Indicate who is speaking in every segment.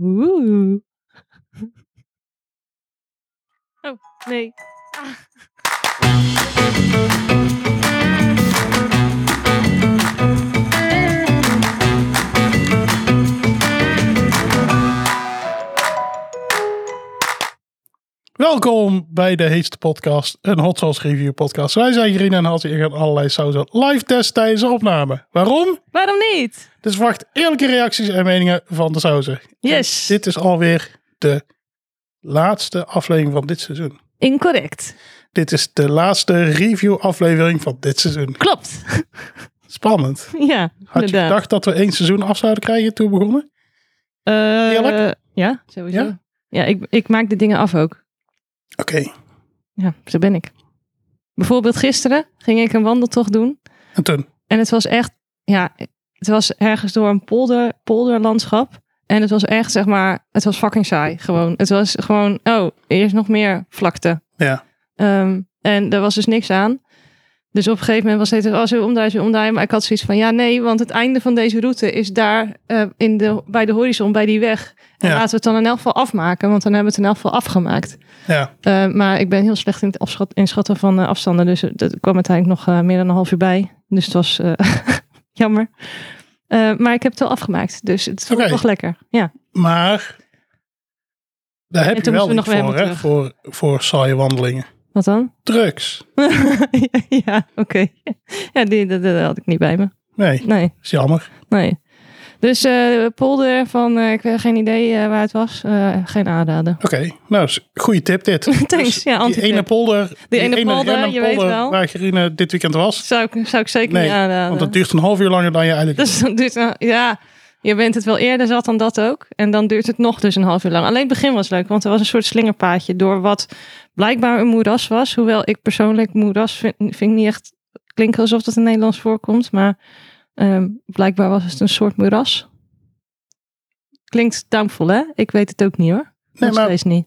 Speaker 1: Oeh. Oh, nee. Ah.
Speaker 2: Welkom bij de heetste podcast, een hot sauce review podcast. Wij zijn Green en Hans en gaan allerlei sauzen live testen tijdens de opname. Waarom?
Speaker 1: Waarom niet?
Speaker 2: Dus wacht eerlijke reacties en meningen van de sauzen.
Speaker 1: Yes.
Speaker 2: Dit is alweer de laatste aflevering van dit seizoen.
Speaker 1: Incorrect.
Speaker 2: Dit is de laatste review aflevering van dit seizoen.
Speaker 1: Klopt.
Speaker 2: Spannend.
Speaker 1: ja,
Speaker 2: Had je
Speaker 1: inderdaad.
Speaker 2: gedacht dat we één seizoen af zouden krijgen toen we begonnen?
Speaker 1: Eh,
Speaker 2: Eerlijk?
Speaker 1: ja, sowieso.
Speaker 2: Ja?
Speaker 1: Ja, ik, ik maak de dingen af ook.
Speaker 2: Oké.
Speaker 1: Ja, zo ben ik. Bijvoorbeeld gisteren ging ik een wandeltocht doen.
Speaker 2: En toen?
Speaker 1: En het was echt, ja, het was ergens door een polder, polderlandschap. En het was echt, zeg maar, het was fucking saai. Gewoon. Het was gewoon, oh, er is nog meer vlakte.
Speaker 2: Ja.
Speaker 1: Ehm, en er was dus niks aan. Dus op een gegeven moment was het steeds, oh, zullen we omdraaien, zullen we omdraaien? Maar ik had zoiets van, ja, nee, want het einde van deze route is daar eh, in de, bij de horizon, bij die weg. En
Speaker 2: Ja.
Speaker 1: laten we het dan in elk geval afmaken, want dan hebben we het in elk geval afgemaakt.
Speaker 2: Ja.
Speaker 1: Eh, maar ik ben heel slecht in het afschat, inschatten van eh, afstanden. Dus eh, dat kwam uiteindelijk nog eh, meer dan een half uur bij. Dus het was eh, jammer. Eh, maar ik heb het wel afgemaakt. Dus het voelt
Speaker 2: Oké.
Speaker 1: toch lekker. Ja.
Speaker 2: Maar daar heb
Speaker 1: En
Speaker 2: je
Speaker 1: toen
Speaker 2: wel
Speaker 1: moesten
Speaker 2: niet
Speaker 1: we nog weer
Speaker 2: voor, hè?
Speaker 1: helemaal
Speaker 2: Voor, voor saaie wandelingen.
Speaker 1: Wat dan?
Speaker 2: Drugs.
Speaker 1: ja, oké. Ja, die, dat, dat had ik niet bij me.
Speaker 2: Nee,
Speaker 1: Nee,
Speaker 2: is jammer.
Speaker 1: nee. Dus eh, polder van, eh, ik heb geen idee eh, waar het was. Eh, geen aanraden.
Speaker 2: Oké, nou, is goede tip dit.
Speaker 1: Thanks,
Speaker 2: Dus
Speaker 1: ja,
Speaker 2: die
Speaker 1: anti-tip.
Speaker 2: ene polder, die,
Speaker 1: ene polder,
Speaker 2: random
Speaker 1: je weet wel.
Speaker 2: waar Gerine dit weekend was.
Speaker 1: Zou ik, zou ik zeker
Speaker 2: Nee,
Speaker 1: niet aanraden.
Speaker 2: Want dat duurt een half uur langer dan je eigenlijk...
Speaker 1: Dus dan duurt nou, ja, je bent het wel eerder zat dan dat ook. En dan duurt het nog dus een half uur lang. Alleen het begin was leuk, want er was een soort slingerpaadje door wat blijkbaar een moeras was. Hoewel ik persoonlijk moeras vind, vind ik niet echt klinken alsof dat in Nederlands voorkomt. Maar ehm, blijkbaar was het een soort moeras. Klinkt doubtful, hè? Ik weet het ook niet hoor.
Speaker 2: nee,
Speaker 1: Nog
Speaker 2: maar
Speaker 1: steeds niet.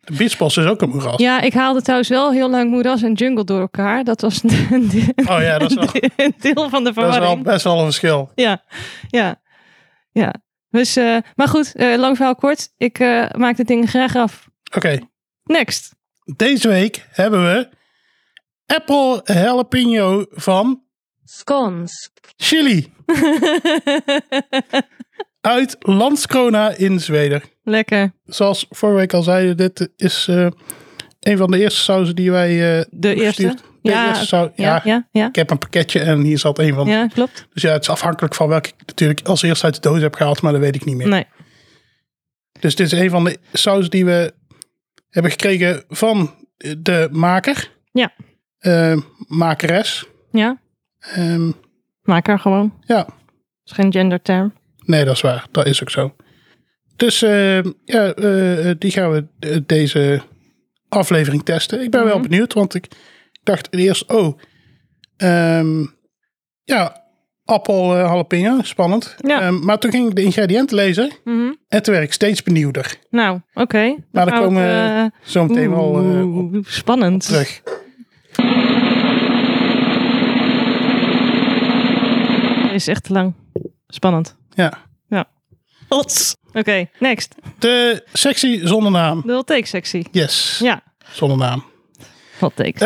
Speaker 2: de Biesbos is ook een moeras.
Speaker 1: Ja, ik haalde trouwens wel heel lang moeras en jungle door elkaar. Dat was een,
Speaker 2: Oh ja, dat is wel,
Speaker 1: een deel van de verwarring.
Speaker 2: dat is wel best wel een verschil.
Speaker 1: Ja, ja, ja. Dus, eh, maar goed, eh, lang verhaal kort. Ik eh, maak de dingen graag af.
Speaker 2: Oké,
Speaker 1: Next.
Speaker 2: deze week hebben we Apple Jalapeno van
Speaker 1: Scones.
Speaker 2: Chili. Uit Landskrona in Zweden.
Speaker 1: Lekker.
Speaker 2: Zoals vorige week al zeiden, dit is eh, een van de eerste sauzen die wij... eh,
Speaker 1: De eerste.
Speaker 2: gestuurd- De
Speaker 1: Ja,
Speaker 2: eerste sau-
Speaker 1: Ja, ja, ja.
Speaker 2: Ik heb een pakketje en hier zat een van.
Speaker 1: Ja, klopt.
Speaker 2: Dus ja, het is afhankelijk van welke ik natuurlijk als eerste uit de doos heb gehaald, maar dat weet ik niet meer.
Speaker 1: Nee.
Speaker 2: Dus dit is een van de sauzen die we hebben gekregen van de maker.
Speaker 1: Ja.
Speaker 2: Eh, makeres.
Speaker 1: Ja,
Speaker 2: Ehm,
Speaker 1: maak er gewoon.
Speaker 2: ja,
Speaker 1: Dat is geen genderterm.
Speaker 2: nee, dat is waar. Dat is ook zo. Dus eh, ja, eh, eh, die gaan we eh, deze aflevering testen. Ik ben wel
Speaker 1: Mhm.
Speaker 2: benieuwd, want ik dacht eerst, oh, ehm, ja, appel eh, jalapeno, spannend.
Speaker 1: Ja.
Speaker 2: Ehm, maar toen ging ik de ingrediënten lezen
Speaker 1: Mhm.
Speaker 2: en toen werd ik steeds benieuwder.
Speaker 1: Nou, oké.
Speaker 2: Maar
Speaker 1: dan
Speaker 2: daar komen
Speaker 1: gaan
Speaker 2: we
Speaker 1: we het, eh,
Speaker 2: zometeen wel eh, op
Speaker 1: oeh, spannend.
Speaker 2: terug.
Speaker 1: Dit is echt te lang. Spannend.
Speaker 2: Ja.
Speaker 1: Oké, next.
Speaker 2: De sectie zonder naam.
Speaker 1: De hot take sectie.
Speaker 2: Yes,
Speaker 1: Ja,
Speaker 2: zonder naam.
Speaker 1: hot take.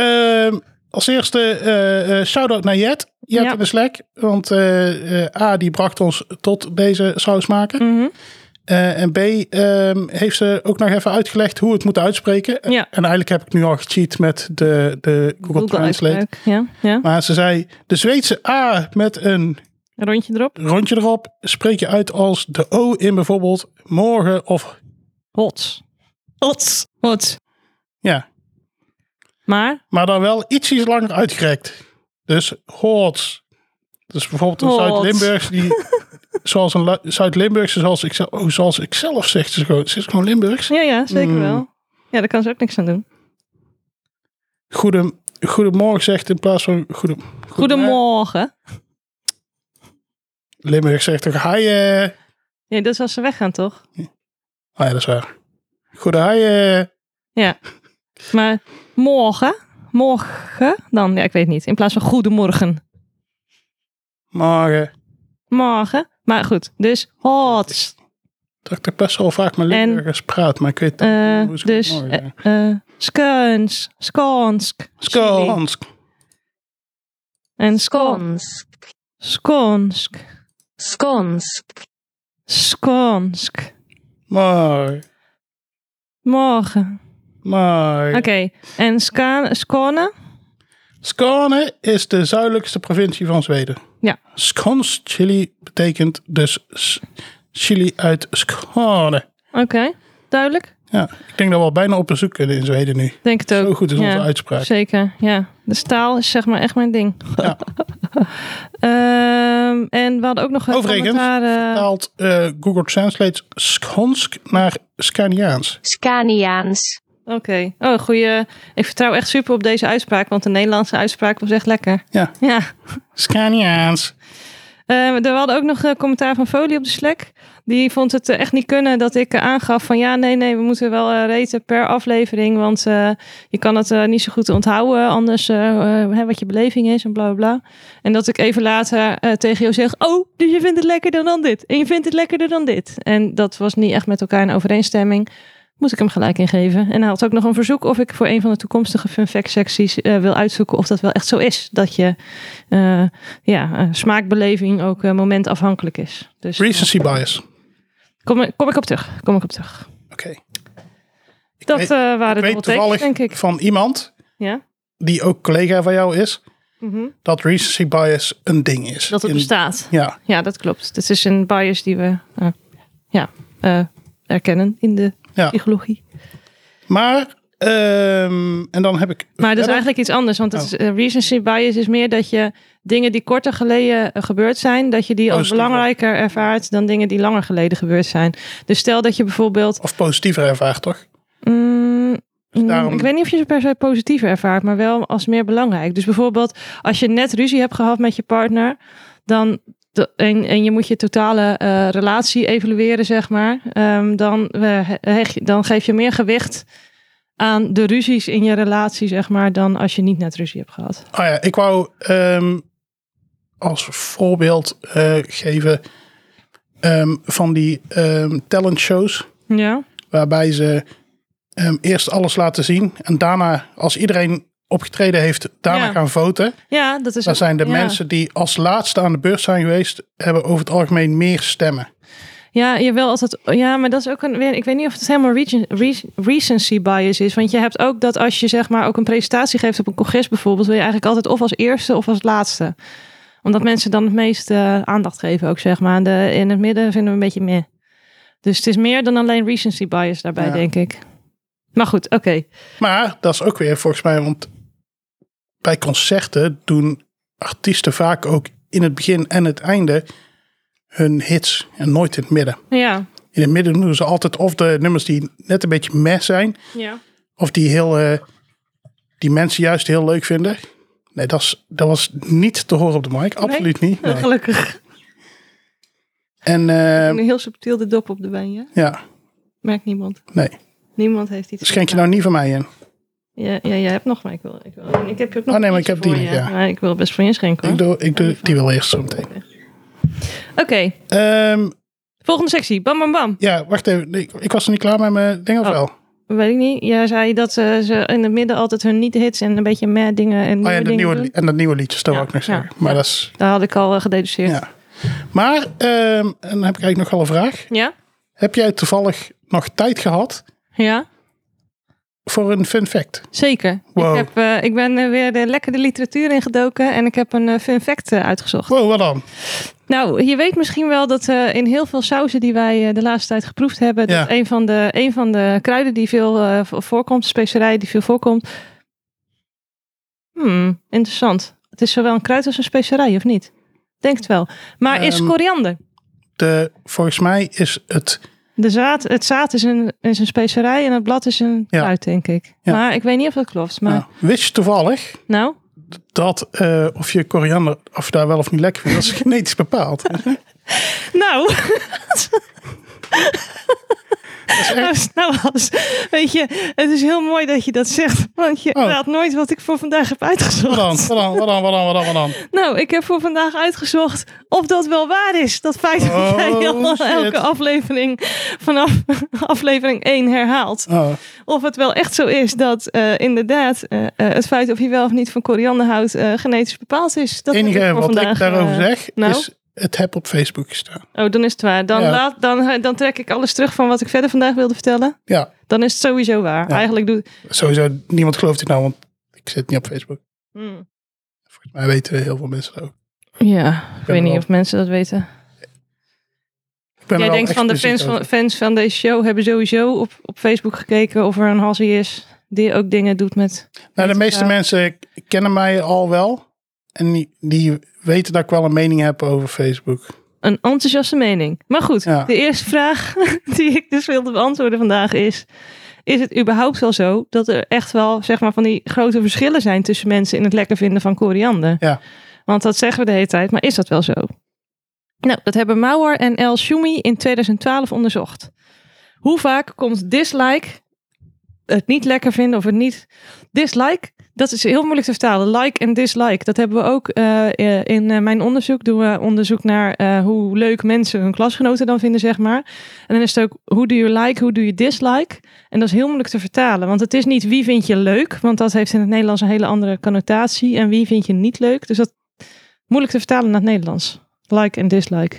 Speaker 2: Ehm, als eerste eh, eh, shout-out naar Jet. Jet
Speaker 1: Ja.
Speaker 2: in de Slack. Want eh, eh, A, die bracht ons tot deze saus maken.
Speaker 1: Mhm.
Speaker 2: Eh, en B, ehm, heeft ze ook nog even uitgelegd hoe we het moet uitspreken.
Speaker 1: Ja.
Speaker 2: En eigenlijk heb ik nu al gecheat met de, de Google, Translate.
Speaker 1: uitspraak. Ja, ja.
Speaker 2: Maar ze zei, de Zweedse A met een
Speaker 1: Een rondje erop.
Speaker 2: rondje erop spreek je uit als de O in bijvoorbeeld morgen of...
Speaker 1: Hots. Hots. Hots.
Speaker 2: Ja,
Speaker 1: Maar
Speaker 2: maar dan wel ietsjes langer uitgerekt. Dus hoorts. Dus bijvoorbeeld een
Speaker 1: Hoorts.
Speaker 2: Zuid-Limburgse die, zoals een Lu- Zuid-Limburgse, zoals ik, zelf- oh, zoals ik zelf zeg, ze is gewoon, ze is gewoon Limburgs.
Speaker 1: ja, ja, zeker
Speaker 2: Mm.
Speaker 1: wel. Ja, daar kan ze ook niks aan doen.
Speaker 2: Goedem, goedemorgen zegt in plaats van goedem,
Speaker 1: Goedemorgen.
Speaker 2: Limburg zegt toch hi. eh.
Speaker 1: Ja, dat is als ze weggaan, toch?
Speaker 2: Ah ja, dat is waar. Goede hi. eh.
Speaker 1: Ja. Maar morgen, morgen dan, ja, ik weet niet. In plaats van goedemorgen,
Speaker 2: morgen.
Speaker 1: morgen. Maar goed, dus hots.
Speaker 2: Dat ik er best wel vaak mijn
Speaker 1: En-
Speaker 2: Limburgers praat, maar ik weet niet
Speaker 1: Eh,
Speaker 2: hoe ze het
Speaker 1: dus,
Speaker 2: mooi
Speaker 1: eh,
Speaker 2: zeggen.
Speaker 1: eh, Skuns, Skonsk. Chili.
Speaker 2: Skonsk.
Speaker 1: En Skon,
Speaker 3: Skånsk.
Speaker 1: Skonsk.
Speaker 3: Skånsk.
Speaker 1: Skonsk.
Speaker 2: Mooi.
Speaker 1: Morgen.
Speaker 2: Mooi.
Speaker 1: Oké, en Ska- Skåne?
Speaker 2: Skåne is de zuidelijkste provincie van Zweden.
Speaker 1: Ja.
Speaker 2: Skåns chili betekent dus s- chili uit Skåne.
Speaker 1: Oké, duidelijk.
Speaker 2: Ja, ik denk dat we al bijna op bezoek kunnen in Zweden nu.
Speaker 1: Denk het ook.
Speaker 2: Zo goed is onze
Speaker 1: Ja,
Speaker 2: uitspraak.
Speaker 1: Zeker, ja. De staal is zeg maar echt mijn ding.
Speaker 2: Ja.
Speaker 1: Ehm, en we hadden ook nog een
Speaker 2: Overigens,
Speaker 1: commentaar, eh,
Speaker 2: Taalt eh, Google Translate Skånsk naar Scaniaans.
Speaker 3: Scaniaans.
Speaker 1: Oké. Oh, goeie. Ik vertrouw echt super op deze uitspraak, want de Nederlandse uitspraak was echt lekker.
Speaker 2: Ja.
Speaker 1: Ja.
Speaker 2: Scaniaans.
Speaker 1: Ehm, er we hadden ook nog een commentaar van Folie op de Slack. Die vond het eh, echt niet kunnen dat ik eh, aangaf van ja, nee, nee, we moeten wel eh raten per aflevering. Want eh, je kan het eh, niet zo goed onthouden, anders eh, eh, hè, wat je beleving is en bla bla bla. En dat ik even later eh, tegen jou zeg, oh, dus je vindt het lekkerder dan dit. En je vindt het lekkerder dan dit. En dat was niet echt met elkaar in overeenstemming. Moet ik hem gelijk ingeven. En hij had ook nog een verzoek of ik voor een van de toekomstige fun fact secties eh, wil uitzoeken of dat wel echt zo is. Dat je eh, ja, eh, smaakbeleving ook eh, momentafhankelijk is. Dus eh,
Speaker 2: Recency bias.
Speaker 1: kom, ik- kom ik op terug. Kom ik op terug.
Speaker 2: Oké. Ik
Speaker 1: Dat
Speaker 2: weet,
Speaker 1: eh,
Speaker 2: ik
Speaker 1: waren de
Speaker 2: weet
Speaker 1: takes,
Speaker 2: toevallig
Speaker 1: denk ik.
Speaker 2: van iemand
Speaker 1: Ja?
Speaker 2: die ook collega van jou is,
Speaker 1: Mhm.
Speaker 2: dat recency bias een ding is.
Speaker 1: Dat het
Speaker 2: In-
Speaker 1: bestaat.
Speaker 2: Ja,
Speaker 1: Ja, dat klopt. Dit is een bias die we eh, ja, eh, erkennen in de
Speaker 2: Ja.
Speaker 1: psychologie.
Speaker 2: maar, ehm, en dan Oh. heb ik.
Speaker 1: Maar dat is
Speaker 2: verder-
Speaker 1: eigenlijk iets anders. Want het is, eh, recency bias is meer dat je dingen die korter geleden eh, gebeurd zijn, dat je die als
Speaker 2: Positiever.
Speaker 1: belangrijker ervaart dan dingen die langer geleden gebeurd zijn. Dus stel dat je bijvoorbeeld
Speaker 2: Of positiever ervaart, toch?
Speaker 1: Mm, mm,
Speaker 2: Dus daarom-
Speaker 1: Ik weet niet of je ze per se positief ervaart, maar wel als meer belangrijk. Dus bijvoorbeeld, als je net ruzie hebt gehad met je partner, dan. de- En, en je moet je totale eh, relatie evalueren, zeg maar. ehm, dan, eh, heg- dan geef je meer gewicht aan de ruzies in je relatie, zeg maar, dan als je niet net ruzie hebt gehad.
Speaker 2: Ah ja, ik wou ehm, als voorbeeld eh, geven ehm, van die ehm talent shows.
Speaker 1: Ja,
Speaker 2: Waarbij ze ehm, eerst alles laten zien. En daarna, als iedereen opgetreden heeft, daarna
Speaker 1: Ja.
Speaker 2: gaan voten.
Speaker 1: ja dat is.
Speaker 2: Dan zijn de
Speaker 1: ja.
Speaker 2: mensen die als laatste aan de beurt zijn geweest, hebben over het algemeen meer stemmen.
Speaker 1: Ja, je wil altijd. Ja, maar dat is ook een. weer- Ik weet niet of het helemaal recen- re- recency bias is. Want je hebt ook dat als je zeg maar ook een presentatie geeft op een congres bijvoorbeeld, wil je eigenlijk altijd of als eerste of als laatste. Omdat mensen dan het meeste eh, aandacht geven, ook zeg maar. De, in het midden vinden we een beetje meh. Dus het is meer dan alleen recency bias daarbij,
Speaker 2: Ja.
Speaker 1: denk ik. Maar goed, oké.
Speaker 2: Maar dat is ook weer volgens mij, want bij concerten doen artiesten vaak ook in het begin en het einde hun hits en nooit in het midden.
Speaker 1: Ja.
Speaker 2: In het midden doen ze altijd of de nummers die net een beetje meh zijn.
Speaker 1: ja.
Speaker 2: Of die, heel, eh, die mensen juist heel leuk vinden. Nee, dat, is, dat was niet te horen op de mic. Absoluut niet. nee.
Speaker 1: Gelukkig.
Speaker 2: En eh,
Speaker 1: Heel subtiel de dop op de wijn, ja?
Speaker 2: ja,
Speaker 1: Merkt niemand.
Speaker 2: nee.
Speaker 1: Niemand heeft iets.
Speaker 2: Schenk je nou niet van mij in.
Speaker 1: Ja, ja, jij hebt nog, maar ik wil. Ik, wil, ik heb ook nog.
Speaker 2: Oh, nee, maar ik
Speaker 1: eentje
Speaker 2: heb die
Speaker 1: voor
Speaker 2: nog,
Speaker 1: je.
Speaker 2: ja.
Speaker 1: Maar ik wil best voor je inschenken.
Speaker 2: Ik
Speaker 1: hoor.
Speaker 2: doe, ik doe die wel eerst zo meteen.
Speaker 1: Oké,
Speaker 2: Ehm,
Speaker 1: volgende sectie. Bam, bam, bam.
Speaker 2: ja, wacht even. Ik, ik was er niet klaar met mijn ding of
Speaker 1: Oh.
Speaker 2: wel?
Speaker 1: Weet ik niet. Jij zei dat eh, ze in het midden altijd hun niet-hits en een beetje meh dingen en nieuwe
Speaker 2: Oh ja, dat
Speaker 1: dingen
Speaker 2: nieuwe,
Speaker 1: doen.
Speaker 2: li- en dat nieuwe liedjes, dat
Speaker 1: Ja,
Speaker 2: wil ik nog
Speaker 1: ja,
Speaker 2: zeggen. Maar
Speaker 1: ja.
Speaker 2: dat is...
Speaker 1: Daar had ik al eh, gededuceerd. Ja?
Speaker 2: Ja. Maar, ehm, en dan heb ik eigenlijk nog wel een vraag.
Speaker 1: Ja?
Speaker 2: Heb jij toevallig nog tijd gehad voor een fun fact?
Speaker 1: zeker.
Speaker 2: Wow.
Speaker 1: Ik, heb, eh, ik ben eh, weer de, lekker de literatuur ingedoken en ik heb een eh, fun fact eh, uitgezocht.
Speaker 2: Wow, wat dan?
Speaker 1: Nou, je weet misschien wel dat eh, in heel veel sauzen die wij eh, de laatste tijd geproefd hebben, dat
Speaker 2: Ja.
Speaker 1: een van de, een van de kruiden die veel eh, vo- voorkomt, specerij die veel voorkomt. Hmm, interessant. Het is zowel een kruid als een specerij, of niet? Denk het wel. Maar is
Speaker 2: Ehm.
Speaker 1: koriander?
Speaker 2: De, volgens mij is het
Speaker 1: De zaad, het zaad is een, is een specerij en het blad is een
Speaker 2: Ja.
Speaker 1: kruid, denk ik.
Speaker 2: Ja.
Speaker 1: Maar ik weet niet of dat klopt. Maar
Speaker 2: Nou, wist je toevallig
Speaker 1: nou,
Speaker 2: dat eh, of je koriander of daar wel of niet lekker vindt, dat is genetisch bepaald.
Speaker 1: nou,
Speaker 2: Dat is is echt...
Speaker 1: Nou, Hans, weet je, het is heel mooi dat je dat zegt. Want je
Speaker 2: Oh.
Speaker 1: raadt nooit wat ik voor vandaag heb
Speaker 2: Wat dan?
Speaker 1: uitgezocht.
Speaker 2: Wat dan? Wat dan? Wat dan? Wat dan? Wat dan?
Speaker 1: Nou, ik heb voor vandaag uitgezocht of dat wel waar is. Dat feit dat
Speaker 2: Oh,
Speaker 1: jij al
Speaker 2: shit.
Speaker 1: elke aflevering vanaf aflevering 1 herhaalt.
Speaker 2: Oh,
Speaker 1: Of het wel echt zo is dat eh, inderdaad eh, eh, het feit of je wel of niet van koriander houdt eh, genetisch bepaald is. Dat
Speaker 2: het
Speaker 1: heb ik
Speaker 2: enige
Speaker 1: voor
Speaker 2: wat
Speaker 1: vandaag,
Speaker 2: ik daarover
Speaker 1: eh,
Speaker 2: zeg
Speaker 1: nou?
Speaker 2: is... Het heb op Facebook gestaan.
Speaker 1: Oh, dan is het waar. Dan,
Speaker 2: Ja.
Speaker 1: laat, dan, eh, dan trek ik alles terug van wat ik verder vandaag wilde vertellen.
Speaker 2: Ja,
Speaker 1: Dan is het sowieso waar.
Speaker 2: Ja.
Speaker 1: Eigenlijk doet.
Speaker 2: sowieso. Niemand gelooft dit nou, want ik zit niet op Facebook.
Speaker 1: Hmm.
Speaker 2: Volgens mij weten heel veel mensen dat ook.
Speaker 1: Ja, ik weet
Speaker 2: er
Speaker 1: niet
Speaker 2: wel-
Speaker 1: of mensen dat weten.
Speaker 2: Ik ben er
Speaker 1: Jij
Speaker 2: wel
Speaker 1: denkt van de
Speaker 2: expliciet
Speaker 1: fans van,
Speaker 2: over.
Speaker 1: fans van deze show hebben sowieso op, op Facebook gekeken of er een Hassie is die ook dingen doet met.
Speaker 2: Nou, de
Speaker 1: Weet
Speaker 2: meeste
Speaker 1: ik wel.
Speaker 2: mensen k- kennen mij al wel. En die, die weten dat ik wel een mening heb over Facebook.
Speaker 1: Een enthousiaste mening. Maar goed,
Speaker 2: Ja.
Speaker 1: de eerste vraag die ik dus wilde beantwoorden vandaag is: Is het überhaupt wel zo dat er echt wel zeg maar, van die grote verschillen zijn tussen mensen in het lekker vinden van koriander?
Speaker 2: Ja.
Speaker 1: Want dat zeggen we de hele tijd, maar is dat wel zo? Nou, dat hebben Mauer en El Shumi in 2012 onderzocht. Hoe vaak komt dislike, het niet lekker vinden of het niet. Dislike, dat is heel moeilijk te vertalen. Like en dislike, dat hebben we ook eh, eh, in eh, mijn onderzoek. Doen we onderzoek naar eh, hoe leuk mensen hun klasgenoten dan vinden, zeg maar. En dan is het ook, hoe do you like, hoe doe je dislike? En dat is heel moeilijk te vertalen, want het is niet wie vind je leuk, want dat heeft in het Nederlands een hele andere connotatie. En wie vind je niet leuk, dus dat moeilijk te vertalen naar het Nederlands. Like en dislike.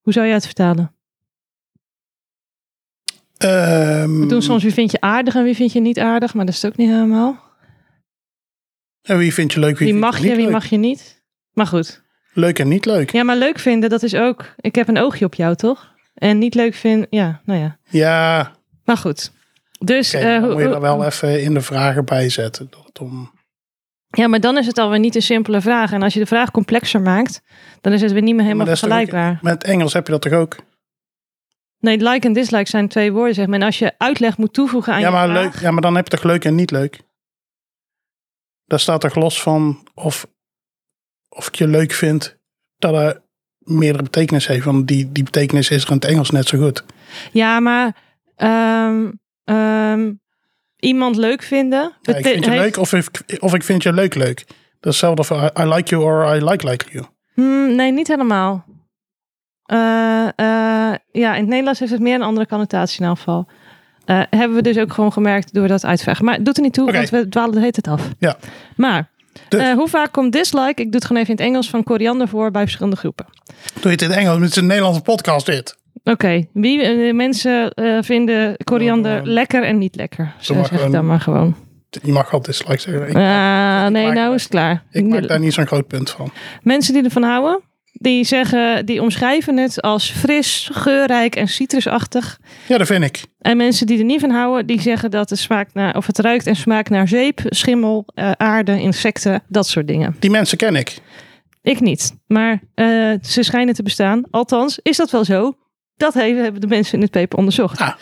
Speaker 1: Hoe zou jij het vertalen?
Speaker 2: Ehm,
Speaker 1: We doen soms wie vind je aardig en wie vind je niet aardig, maar dat is het ook niet helemaal.
Speaker 2: en wie vind je leuk? Wie,
Speaker 1: Wie
Speaker 2: vind
Speaker 1: mag
Speaker 2: niet
Speaker 1: je, wie
Speaker 2: leuk?
Speaker 1: mag je niet? Maar goed.
Speaker 2: Leuk en niet leuk. Ja,
Speaker 1: Ja, maar leuk vinden, dat is ook, ik heb een oogje op jou, toch? En niet leuk vinden, ja, nou ja. Maar goed. Dus,
Speaker 2: oké,
Speaker 1: eh,
Speaker 2: dan
Speaker 1: hoe-
Speaker 2: moet je er
Speaker 1: hoe-
Speaker 2: wel even in de vragen bij zetten. Dat om,
Speaker 1: Ja, maar dan is het alweer niet een simpele vraag. En als je de vraag complexer maakt, dan is het weer niet meer helemaal
Speaker 2: Maar dat is toch ook-
Speaker 1: vergelijkbaar.
Speaker 2: met Engels heb je dat toch ook?
Speaker 1: Nee, like en dislike zijn twee woorden, zeg maar. En als je uitleg moet toevoegen aan
Speaker 2: Ja
Speaker 1: je
Speaker 2: maar,
Speaker 1: vraag...
Speaker 2: leuk, ja, maar dan heb je toch leuk en niet leuk? Daar staat toch los van of, of ik je leuk vind dat er meerdere betekenis heeft. Want die, die betekenis is er in het Engels net zo goed.
Speaker 1: Ja, maar ehm, ehm, iemand leuk vinden...
Speaker 2: Ja, ik
Speaker 1: bete-
Speaker 2: vind je
Speaker 1: heeft-
Speaker 2: leuk of ik, of ik vind je leuk leuk. Dat is hetzelfde voor I, I like you or I like like you.
Speaker 1: Hmm, nee, niet helemaal. Eh, eh, ja, in het Nederlands heeft het meer een andere connotatie in elk geval. Eh, hebben we dus ook gewoon gemerkt door dat uitvragen. Maar het doet er niet toe,
Speaker 2: Oké.
Speaker 1: want we dwalen de hele tijd af.
Speaker 2: Ja.
Speaker 1: Maar,
Speaker 2: Dus.
Speaker 1: eh, hoe vaak komt dislike, ik doe het gewoon even in het Engels, van koriander voor bij verschillende groepen?
Speaker 2: Doe je het in het Engels? want Het is een Nederlandse podcast dit.
Speaker 1: Oké, wie eh, mensen eh, vinden koriander
Speaker 2: Eh,
Speaker 1: lekker en niet lekker? Zo
Speaker 2: maar
Speaker 1: zeg ik
Speaker 2: gewoon-
Speaker 1: dan maar gewoon.
Speaker 2: Je mag altijd dislike zeggen. Ik,
Speaker 1: Ah, nee,
Speaker 2: maak-
Speaker 1: nou is het klaar.
Speaker 2: ik maak daar niet zo'n groot punt van.
Speaker 1: Mensen die ervan houden, die zeggen, die omschrijven het als fris, geurrijk en citrusachtig.
Speaker 2: Ja, dat vind ik.
Speaker 1: En mensen die er niet van houden, die zeggen dat het smaakt naar, of het ruikt en smaakt naar zeep, schimmel, eh, aarde, insecten, dat soort dingen.
Speaker 2: Die mensen ken ik.
Speaker 1: Ik niet, maar eh, ze schijnen te bestaan. Althans, is dat wel zo? Dat he- hebben de mensen in dit paper onderzocht.
Speaker 2: Ah.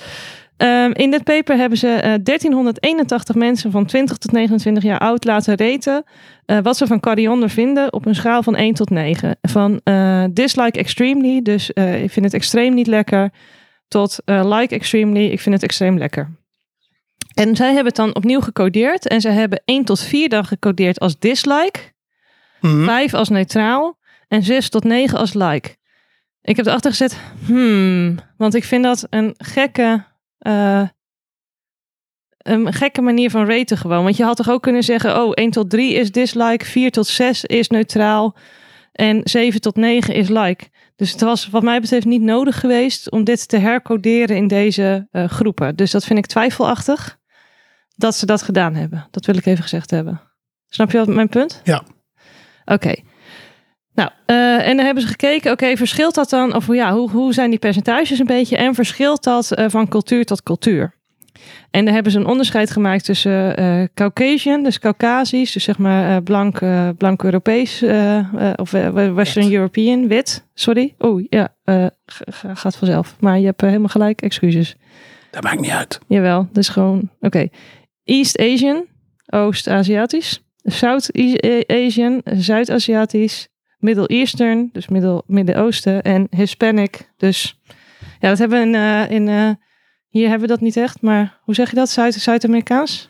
Speaker 1: Ehm, in dit paper hebben ze eh, 1381 mensen van 20 tot 29 jaar oud laten reten eh, wat ze van koriander vinden op een schaal van 1 tot 9. Van eh, dislike extremely, dus eh, ik vind het extreem niet lekker, tot eh, like extremely, ik vind het extreem lekker. En zij hebben het dan opnieuw gecodeerd en ze hebben 1 tot 4 dan gecodeerd als dislike.
Speaker 2: Hm.
Speaker 1: 5 als neutraal en 6 tot 9 als like. Ik heb erachter gezet, hmm, want ik vind dat een gekke, eh, een gekke manier van raten gewoon. Want je had toch ook kunnen zeggen, oh, 1 tot 3 is dislike, 4 tot 6 is neutraal en 7 tot 9 is like. Dus het was wat mij betreft niet nodig geweest om dit te hercoderen in deze eh, groepen. Dus dat vind ik twijfelachtig dat ze dat gedaan hebben. Dat wil ik even gezegd hebben. Snap je wat mijn punt?
Speaker 2: Ja.
Speaker 1: Oké. Nou, eh, en dan hebben ze gekeken, oké, verschilt dat dan, of ja, hoe, hoe zijn die percentages een beetje en verschilt dat eh, van cultuur tot cultuur? En daar hebben ze een onderscheid gemaakt tussen eh Caucasian, dus Caucasisch, dus zeg maar eh, blank, eh, blank Europees, eh, eh, of eh, Western European, wit, sorry. Oeh, ja, eh, ga- ga- gaat vanzelf. Maar je hebt eh, helemaal gelijk, excuses.
Speaker 2: Dat maakt niet uit.
Speaker 1: Jawel, dus gewoon, oké. East Asian, Oost-Aziatisch. South E- Asian, Zuid-Aziatisch. Middle Eastern, dus Middel- Midden-Oosten. En Hispanic, dus Ja, dat hebben we in... eh, in eh, hier hebben we dat niet echt, maar hoe zeg je dat? Zuid- Zuid-Amerikaans?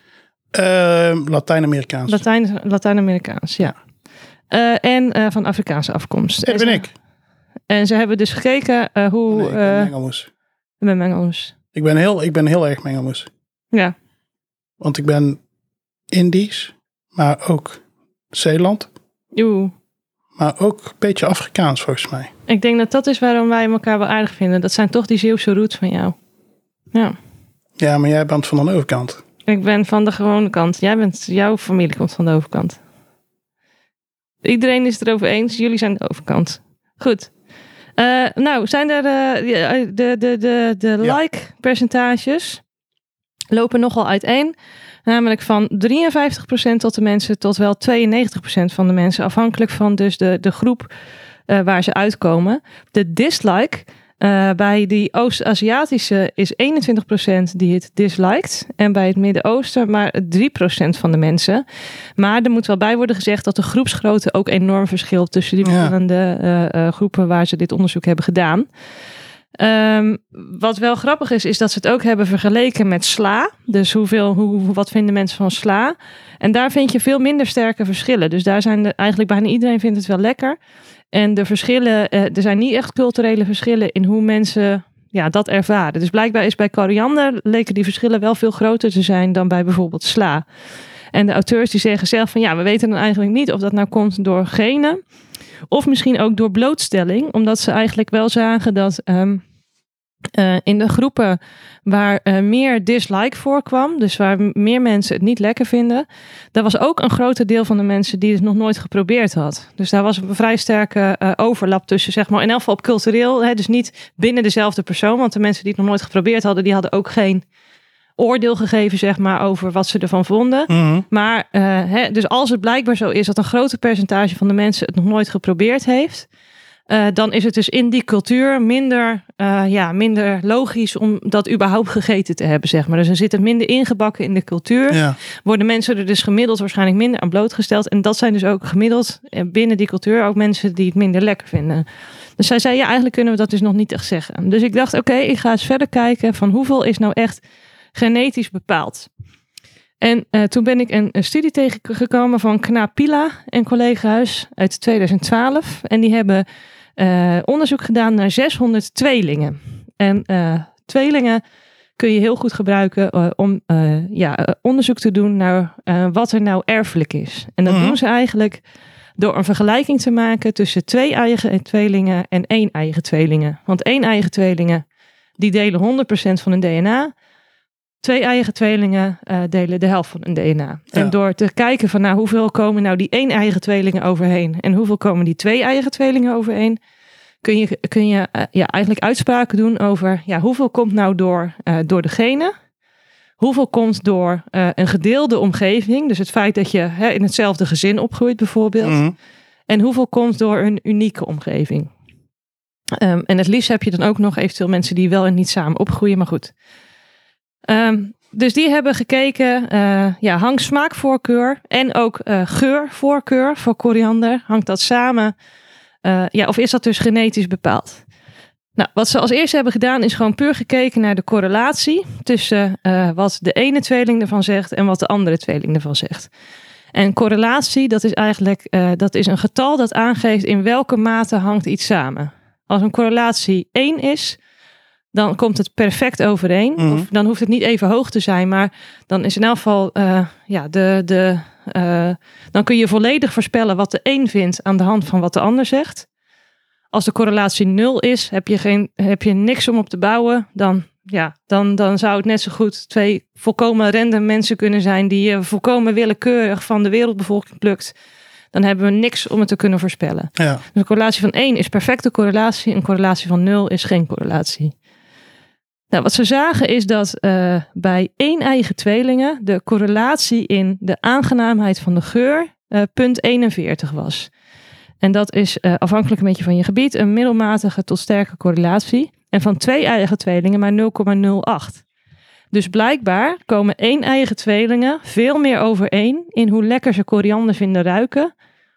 Speaker 2: Ehm, Latijns-Amerikaans.
Speaker 1: Latijn, Latijn-Amerikaans, ja. Eh, en eh, van Afrikaanse afkomst.
Speaker 2: dat ben
Speaker 1: En ze-
Speaker 2: ik.
Speaker 1: En ze hebben dus gekeken eh, hoe...
Speaker 2: Nee, ik ben
Speaker 1: eh,
Speaker 2: mengelmoes.
Speaker 1: ik ben Engels.
Speaker 2: Ik ben heel, ik ben heel erg mengelmoes.
Speaker 1: Ja,
Speaker 2: Want ik ben Indisch, maar ook Zeeland,
Speaker 1: oeh.
Speaker 2: maar ook een beetje Afrikaans volgens mij.
Speaker 1: Ik denk dat dat is waarom wij elkaar wel aardig vinden. Dat zijn toch die Zeeuwse roots van jou. Ja.
Speaker 2: Ja, maar jij bent van de overkant.
Speaker 1: Ik ben van de gewone kant. Jij bent, jouw familie komt van de overkant. Iedereen is het erover eens. Jullie zijn de overkant. Goed. Eh, nou, zijn er eh, ja, eh, de, de, de, de
Speaker 2: Ja.
Speaker 1: like-percentages lopen nogal uiteen. Namelijk van 53% tot de mensen tot wel 92% van de mensen. Afhankelijk van dus de, de groep eh, waar ze uitkomen. De dislike eh, bij die Oost-Aziatische is 21% die het disliked. En bij het Midden-Oosten maar 3% van de mensen. Maar er moet wel bij worden gezegd dat de groepsgrootte ook enorm verschilt tussen die
Speaker 2: Ja.
Speaker 1: verschillende eh, eh, groepen waar ze dit onderzoek hebben gedaan. Ehm, wat wel grappig is, is dat ze het ook hebben vergeleken met sla. Dus hoeveel, hoe, wat vinden mensen van sla? En daar vind je veel minder sterke verschillen. Dus daar zijn de, eigenlijk bijna iedereen vindt het wel lekker. En de verschillen, eh, er zijn niet echt culturele verschillen in hoe mensen ja, dat ervaren. Dus blijkbaar is bij koriander leken die verschillen wel veel groter te zijn dan bij bijvoorbeeld sla. En de auteurs die zeggen zelf van ja, we weten dan eigenlijk niet of dat nou komt door genen. Of misschien ook door blootstelling, omdat ze eigenlijk wel zagen dat ehm, eh, in de groepen waar eh, meer dislike voorkwam, dus waar m- meer mensen het niet lekker vinden, daar was ook een groter deel van de mensen die het nog nooit geprobeerd had. Dus daar was een vrij sterke eh, overlap tussen, zeg maar, in elk geval op cultureel, hè, dus niet binnen dezelfde persoon, want de mensen die het nog nooit geprobeerd hadden, die hadden ook geen oordeel gegeven, zeg maar, over wat ze ervan vonden.
Speaker 2: Mhm.
Speaker 1: Maar eh, hè, dus als het blijkbaar zo is dat een groter percentage van de mensen het nog nooit geprobeerd heeft, eh, dan is het dus in die cultuur minder, eh, ja, minder logisch om dat überhaupt gegeten te hebben, zeg maar. Dus er zit het minder ingebakken in de cultuur.
Speaker 2: Ja.
Speaker 1: Worden mensen er dus gemiddeld waarschijnlijk minder aan blootgesteld. En dat zijn dus ook gemiddeld eh, binnen die cultuur ook mensen die het minder lekker vinden. Dus zij zei, ja, eigenlijk kunnen we dat dus nog niet echt zeggen. Dus ik dacht, oké, ik ga eens verder kijken van hoeveel is nou echt genetisch bepaald. En eh, toen ben ik een, een studie tegengekomen van Knapila en collega's uit 2012. En die hebben eh, onderzoek gedaan naar 600 tweelingen. En eh, tweelingen kun je heel goed gebruiken eh, om eh, ja, eh, onderzoek te doen naar eh, wat er nou erfelijk is. En dat
Speaker 2: Mhm.
Speaker 1: doen ze eigenlijk door een vergelijking te maken tussen twee eigen tweelingen en één eigen tweelingen. Want één eigen tweelingen die delen 100% van hun DNA. Twee eigen tweelingen eh, delen de helft van hun DNA.
Speaker 2: Ja.
Speaker 1: En door te kijken van nou, hoeveel komen nou die één eigen tweelingen overheen en hoeveel komen die twee eigen tweelingen overheen, kun je, kun je eh, ja, eigenlijk uitspraken doen over ja, hoeveel komt nou door, eh, door de genen. Hoeveel komt door eh, een gedeelde omgeving, dus het feit dat je hè, in hetzelfde gezin opgroeit bijvoorbeeld.
Speaker 2: Mhm.
Speaker 1: En hoeveel komt door een unieke omgeving? Ehm, en het liefst heb je dan ook nog eventueel mensen die wel en niet samen opgroeien, maar goed. Ehm, dus die hebben gekeken, eh ja, hangt smaakvoorkeur en ook eh, geurvoorkeur voor koriander, hangt dat samen? Eh, ja, of is dat dus genetisch bepaald? Nou, wat ze als eerste hebben gedaan is gewoon puur gekeken naar de correlatie tussen eh, wat de ene tweeling ervan zegt en wat de andere tweeling ervan zegt. En correlatie, dat is eigenlijk eh, dat is een getal dat aangeeft in welke mate hangt iets samen. Als een correlatie 1 is, dan komt het perfect overeen.
Speaker 2: Mhm.
Speaker 1: Of dan hoeft het niet even hoog te zijn, maar dan is in elk geval eh, ja, de, de, eh, dan kun je volledig voorspellen wat de een vindt aan de hand van wat de ander zegt. Als de correlatie 0 is, heb je, geen, heb je niks om op te bouwen, dan, ja, dan, dan zou het net zo goed twee volkomen random mensen kunnen zijn die je volkomen willekeurig van de wereldbevolking plukt. Dan hebben we niks om het te kunnen voorspellen.
Speaker 2: ja.
Speaker 1: Dus een correlatie van 1 is perfecte correlatie. Een correlatie van 0 is geen correlatie. Nou, wat ze zagen is dat eh, bij één eigen tweelingen de correlatie in de aangenaamheid van de geur eh, punt 41 was. En dat is eh, afhankelijk een beetje van je gebied een middelmatige tot sterke correlatie. En van twee eigen tweelingen maar 0,08. Dus blijkbaar komen één eigen tweelingen veel meer overeen in hoe lekker ze koriander vinden ruiken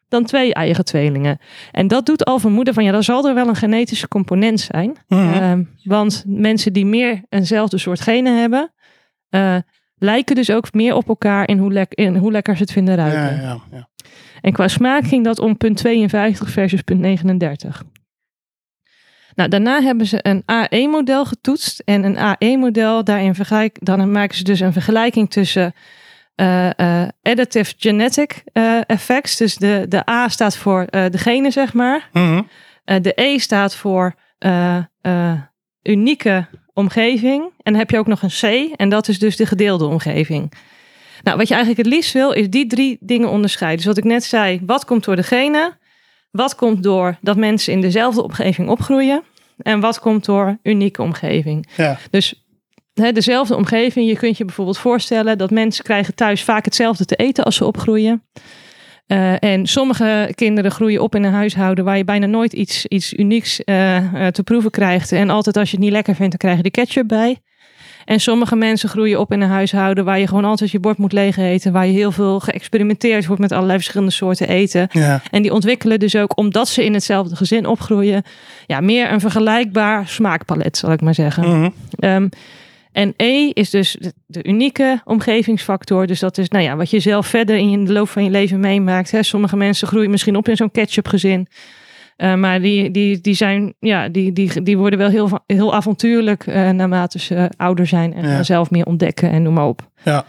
Speaker 1: dan twee eigen tweelingen. En dat doet al vermoeden van ja, dan zal er wel een genetische component zijn.
Speaker 2: Mhm.
Speaker 1: Ehm, want mensen die meer eenzelfde soort genen hebben, eh, lijken dus ook meer op elkaar in hoe, lek- in hoe lekker ze het vinden ruiken.
Speaker 2: ja, ja, ja.
Speaker 1: En qua smaak ging dat om punt 52 versus punt 39. Nou, daarna hebben ze een AE-model getoetst. En een AE-model, daarin vergelijk, dan maken ze dus een vergelijking tussen eh, eh, additive genetic eh, effects. Dus de, de A staat voor eh, de genen, zeg maar.
Speaker 2: Mhm.
Speaker 1: Eh, de E staat voor eh, eh, unieke omgeving. En dan heb je ook nog een C. En dat is dus de gedeelde omgeving. Nou, wat je eigenlijk het liefst wil, is die drie dingen onderscheiden. Dus wat ik net zei, wat komt door de genen? Wat komt door dat mensen in dezelfde omgeving opgroeien? En wat komt door unieke omgeving?
Speaker 2: ja.
Speaker 1: Dus hè, dezelfde omgeving. Je kunt je bijvoorbeeld voorstellen dat mensen krijgen thuis vaak hetzelfde te eten als ze opgroeien. Eh, en sommige kinderen groeien op in een huishouden waar je bijna nooit iets, iets unieks eh, eh, te proeven krijgt. En altijd als je het niet lekker vindt, dan krijg je de ketchup bij. En sommige mensen groeien op in een huishouden waar je gewoon altijd je bord moet leeg eten. Waar je heel veel geëxperimenteerd wordt met allerlei verschillende soorten eten.
Speaker 2: ja.
Speaker 1: En die ontwikkelen dus ook, omdat ze in hetzelfde gezin opgroeien, ja, meer een vergelijkbaar smaakpalet, zal ik maar zeggen.
Speaker 2: Mhm.
Speaker 1: Ehm, en E is dus de, de unieke omgevingsfactor. Dus dat is nou ja, wat je zelf verder in de loop van je leven meemaakt. Hè. Sommige mensen groeien misschien op in zo'n ketchupgezin. Eh maar die, die, die, zijn, ja, die, die, die worden wel heel, va- heel avontuurlijk eh, naarmate ze eh, ouder zijn. En
Speaker 2: Ja.
Speaker 1: gaan zelf meer ontdekken en noem maar op.
Speaker 2: Ja.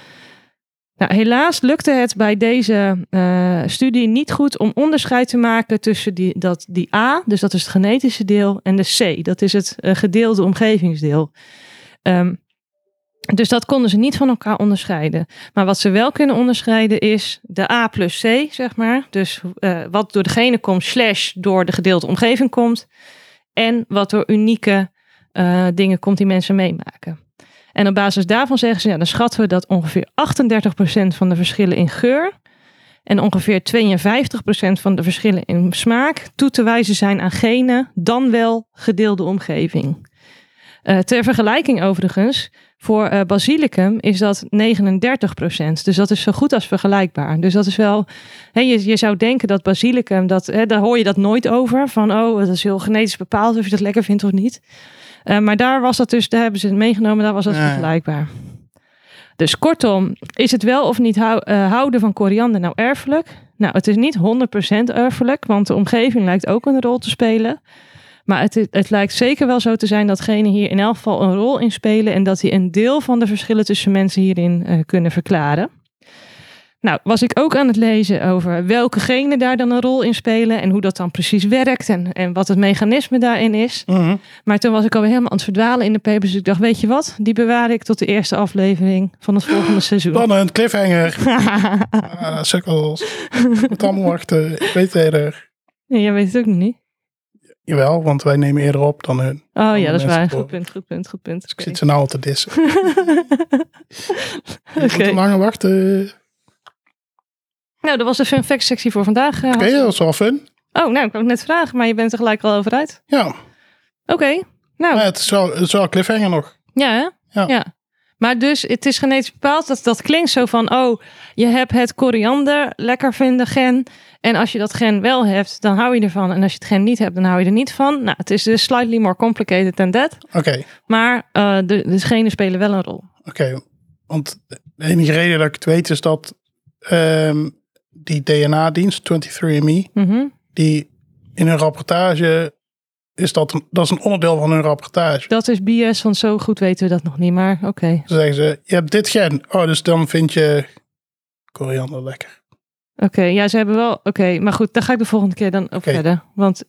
Speaker 1: Nou, helaas lukte het bij deze eh, studie niet goed om onderscheid te maken tussen die, dat, die A, dus dat is het genetische deel, en de C, dat is het eh, gedeelde omgevingsdeel. Ehm, dus dat konden ze niet van elkaar onderscheiden. Maar wat ze wel kunnen onderscheiden is de A plus C, zeg maar. Dus eh, wat door de genen komt, slash door de gedeelde omgeving komt. En wat door unieke eh, dingen komt die mensen meemaken. En op basis daarvan zeggen ze, ja, dan schatten we dat ongeveer 38% van de verschillen in geur en ongeveer 52% van de verschillen in smaak toe te wijzen zijn aan genen, dan wel gedeelde omgeving. Eh, ter vergelijking overigens, voor eh, basilicum is dat 39%. Dus dat is zo goed als vergelijkbaar. Dus dat is wel, hè, je, je zou denken dat basilicum, dat, hè, daar hoor je dat nooit over. Van oh, dat is heel genetisch bepaald of je dat lekker vindt of niet. Eh, maar daar was dat dus, daar hebben ze het meegenomen, daar was dat
Speaker 2: Ja, ja.
Speaker 1: vergelijkbaar. Dus kortom, is het wel of niet hou- eh, houden van koriander nou erfelijk? Nou, het is niet 100% erfelijk, want de omgeving lijkt ook een rol te spelen. Maar het, het lijkt zeker wel zo te zijn dat genen hier in elk geval een rol in spelen. En dat die een deel van de verschillen tussen mensen hierin eh, kunnen verklaren. Nou, was ik ook aan het lezen over welke genen daar dan een rol in spelen. En hoe dat dan precies werkt en, en wat het mechanisme daarin is.
Speaker 2: Mhm.
Speaker 1: Maar toen was ik alweer helemaal aan het verdwalen in de papers. Dus ik dacht, weet je wat? Die bewaar ik tot de eerste aflevering van het volgende seizoen.
Speaker 2: Spannend, cliffhanger. Ah, sukkels. Moet allemaal wachten. Ik weet het eerder.
Speaker 1: Ja, Jij weet het ook nog niet.
Speaker 2: Jawel, want wij nemen eerder op dan hun.
Speaker 1: Oh ja,
Speaker 2: Andere
Speaker 1: dat is waar.
Speaker 2: mensen
Speaker 1: Goed punt, goed punt, goed punt.
Speaker 2: Dus ik
Speaker 1: Oké.
Speaker 2: zit ze nou al te dissen. Je moet
Speaker 1: Oké.
Speaker 2: langer wachten.
Speaker 1: Nou, dat was de fun fact sectie voor vandaag. eh,
Speaker 2: Oké,
Speaker 1: Hans.
Speaker 2: dat is wel fun.
Speaker 1: Oh, nou, ik kan ik net vragen, maar je bent er gelijk al over uit.
Speaker 2: Ja,
Speaker 1: Oké, nou,
Speaker 2: maar het, is wel, het is wel cliffhanger nog.
Speaker 1: ja hè?
Speaker 2: Ja.
Speaker 1: Maar dus, het is genetisch bepaald. Dat, dat klinkt zo van, oh, je hebt het koriander lekker vinden gen. En als je dat gen wel hebt, dan hou je ervan. En als je het gen niet hebt, dan hou je er niet van. Nou, het is dus slightly more complicated than that.
Speaker 2: Oké,
Speaker 1: Maar eh, de, de genen spelen wel een rol.
Speaker 2: oké. Want de enige reden dat ik het weet is dat ehm, die DNA-dienst, 23andMe,
Speaker 1: Mhm.
Speaker 2: die in hun rapportage is dat, een- dat is een onderdeel van hun rapportage.
Speaker 1: Dat is bias, want zo goed weten we dat nog niet. Maar oké, oké.
Speaker 2: Dan zeggen ze, je hebt dit gen. Oh, dus dan vind je koriander lekker.
Speaker 1: Ja, ze hebben wel... Oké, maar goed, daar ga ik de volgende keer dan op
Speaker 2: Oké.
Speaker 1: verder. Want...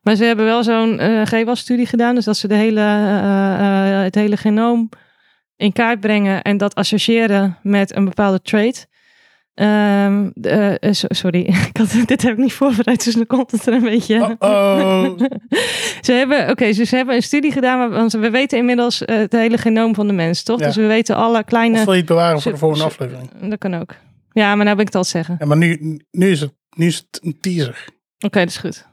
Speaker 1: Maar ze hebben wel zo'n eh GWAS-studie gedaan. Dus dat ze de hele, eh, eh, het hele genoom in kaart brengen. En dat associëren met een bepaalde trait. Ehm, de, eh, eh, so- sorry, ik had, dit heb ik niet voorbereid. Dus dan komt het er een beetje...
Speaker 2: Oh,
Speaker 1: Ze hebben, oké, ze- ze hebben een studie gedaan, maar- want we weten inmiddels eh, het hele genoom van de mens, toch?
Speaker 2: Ja.
Speaker 1: Dus we weten alle
Speaker 2: of
Speaker 1: kleine.
Speaker 2: wil je het bewaren voor de
Speaker 1: Ze-
Speaker 2: volgende
Speaker 1: ze-
Speaker 2: aflevering?
Speaker 1: Dat kan ook. Ja, maar nou ben ik het al zeggen. Oké,
Speaker 2: Ja, maar nu, nu, is het, nu is het een teaser.
Speaker 1: dat is goed.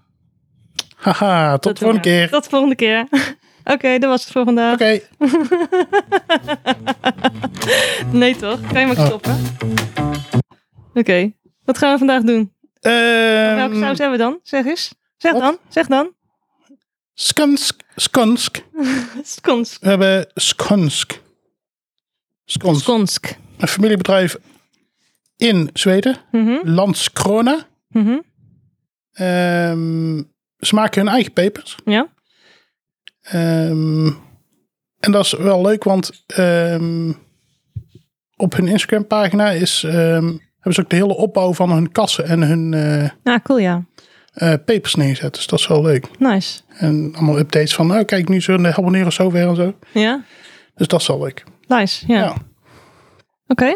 Speaker 2: Haha, tot
Speaker 1: Dat
Speaker 2: de volgende
Speaker 1: doen we.
Speaker 2: keer. Oké.
Speaker 1: Tot de volgende keer. Oké, dat was het voor vandaag.
Speaker 2: Oh.
Speaker 1: Nee, toch? Kan je maar stoppen? Oké, wat gaan we vandaag doen?
Speaker 2: Ehm,
Speaker 1: Welke saus hebben we dan? Zeg eens. Zeg
Speaker 2: Wat?
Speaker 1: dan. Zeg dan.
Speaker 2: Skansk. Skansk.
Speaker 1: Skonsk.
Speaker 2: We hebben Skansk. Skansk.
Speaker 1: Skonsk.
Speaker 2: Een familiebedrijf in Zweden.
Speaker 1: Mhm,
Speaker 2: Landskrona.
Speaker 1: mhm.
Speaker 2: Ehm, ze maken hun eigen pepers.
Speaker 1: Ja.
Speaker 2: Ehm, en dat is wel leuk, want ehm, op hun Instagram pagina is, ehm, hebben ze ook de hele opbouw van hun kassen en hun eh
Speaker 1: Ah, cool ja.
Speaker 2: eh, pepers neergezet. Dus dat is wel leuk.
Speaker 1: Nice.
Speaker 2: En allemaal updates van, nou kijk, nu zullen de abonneren zo weer en zo.
Speaker 1: Ja?
Speaker 2: Dus dat is wel leuk.
Speaker 1: Nice, ja.
Speaker 2: Ja.
Speaker 1: Oké.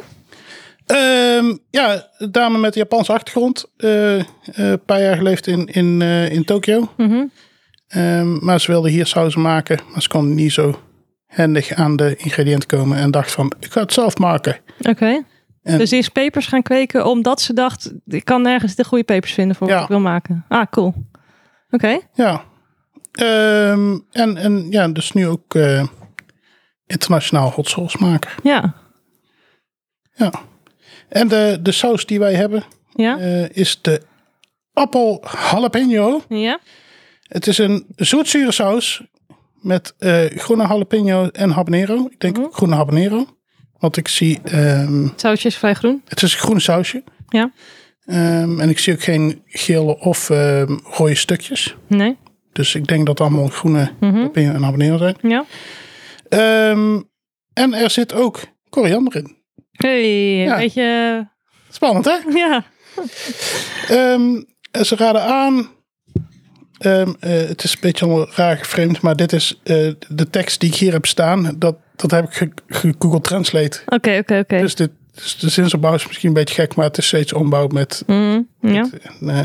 Speaker 2: Ehm, ja, een dame met Japanse achtergrond. eh, eh, een paar jaar geleefd in, in, eh, in Tokio.
Speaker 1: Mhm.
Speaker 2: Ehm, maar ze wilde hier sauzen maken. Maar ze kon niet zo handig aan de ingrediënten komen. En dacht van, ik ga het zelf maken.
Speaker 1: Oké.
Speaker 2: En-
Speaker 1: Dus die is pepers gaan kweken omdat ze dacht, ik kan nergens de goede pepers vinden voor wat
Speaker 2: Ja.
Speaker 1: ik wil maken. Ah, cool. Oké.
Speaker 2: Ja. Ehm, en, en ja, dus nu ook eh, internationaal hot sauce maken.
Speaker 1: Ja.
Speaker 2: Ja. En de, de saus die wij hebben
Speaker 1: Ja?
Speaker 2: eh, is de appel jalapeno.
Speaker 1: Ja?
Speaker 2: Het is een zoetzure saus met eh, groene jalapeno en habanero. Ik denk ook groene habanero. Want ik zie, ehm,
Speaker 1: Het sausje is vrij groen.
Speaker 2: het is een groen sausje.
Speaker 1: Ja?
Speaker 2: Ehm, en ik zie ook geen gele of ehm, rode stukjes.
Speaker 1: Nee? Mhm.
Speaker 2: Dus ik denk dat het allemaal groene jalapeno en habanero zijn.
Speaker 1: Ja?
Speaker 2: Ehm, en er zit ook koriander in.
Speaker 1: hey, een
Speaker 2: Ja.
Speaker 1: beetje...
Speaker 2: Spannend hè?
Speaker 1: Ja.
Speaker 2: Ehm, en ze raden aan. Ehm, eh, het is een beetje allemaal raar geframed, maar dit is eh, de tekst die ik hier heb staan. Dat, dat heb ik ge- ge- Google Translate.
Speaker 1: Oké, oké, oké.
Speaker 2: Dus dit, dus de zinsopbouw is misschien een beetje gek, maar het is steeds ombouw met.
Speaker 1: Mhm, Ja?
Speaker 2: en, eh,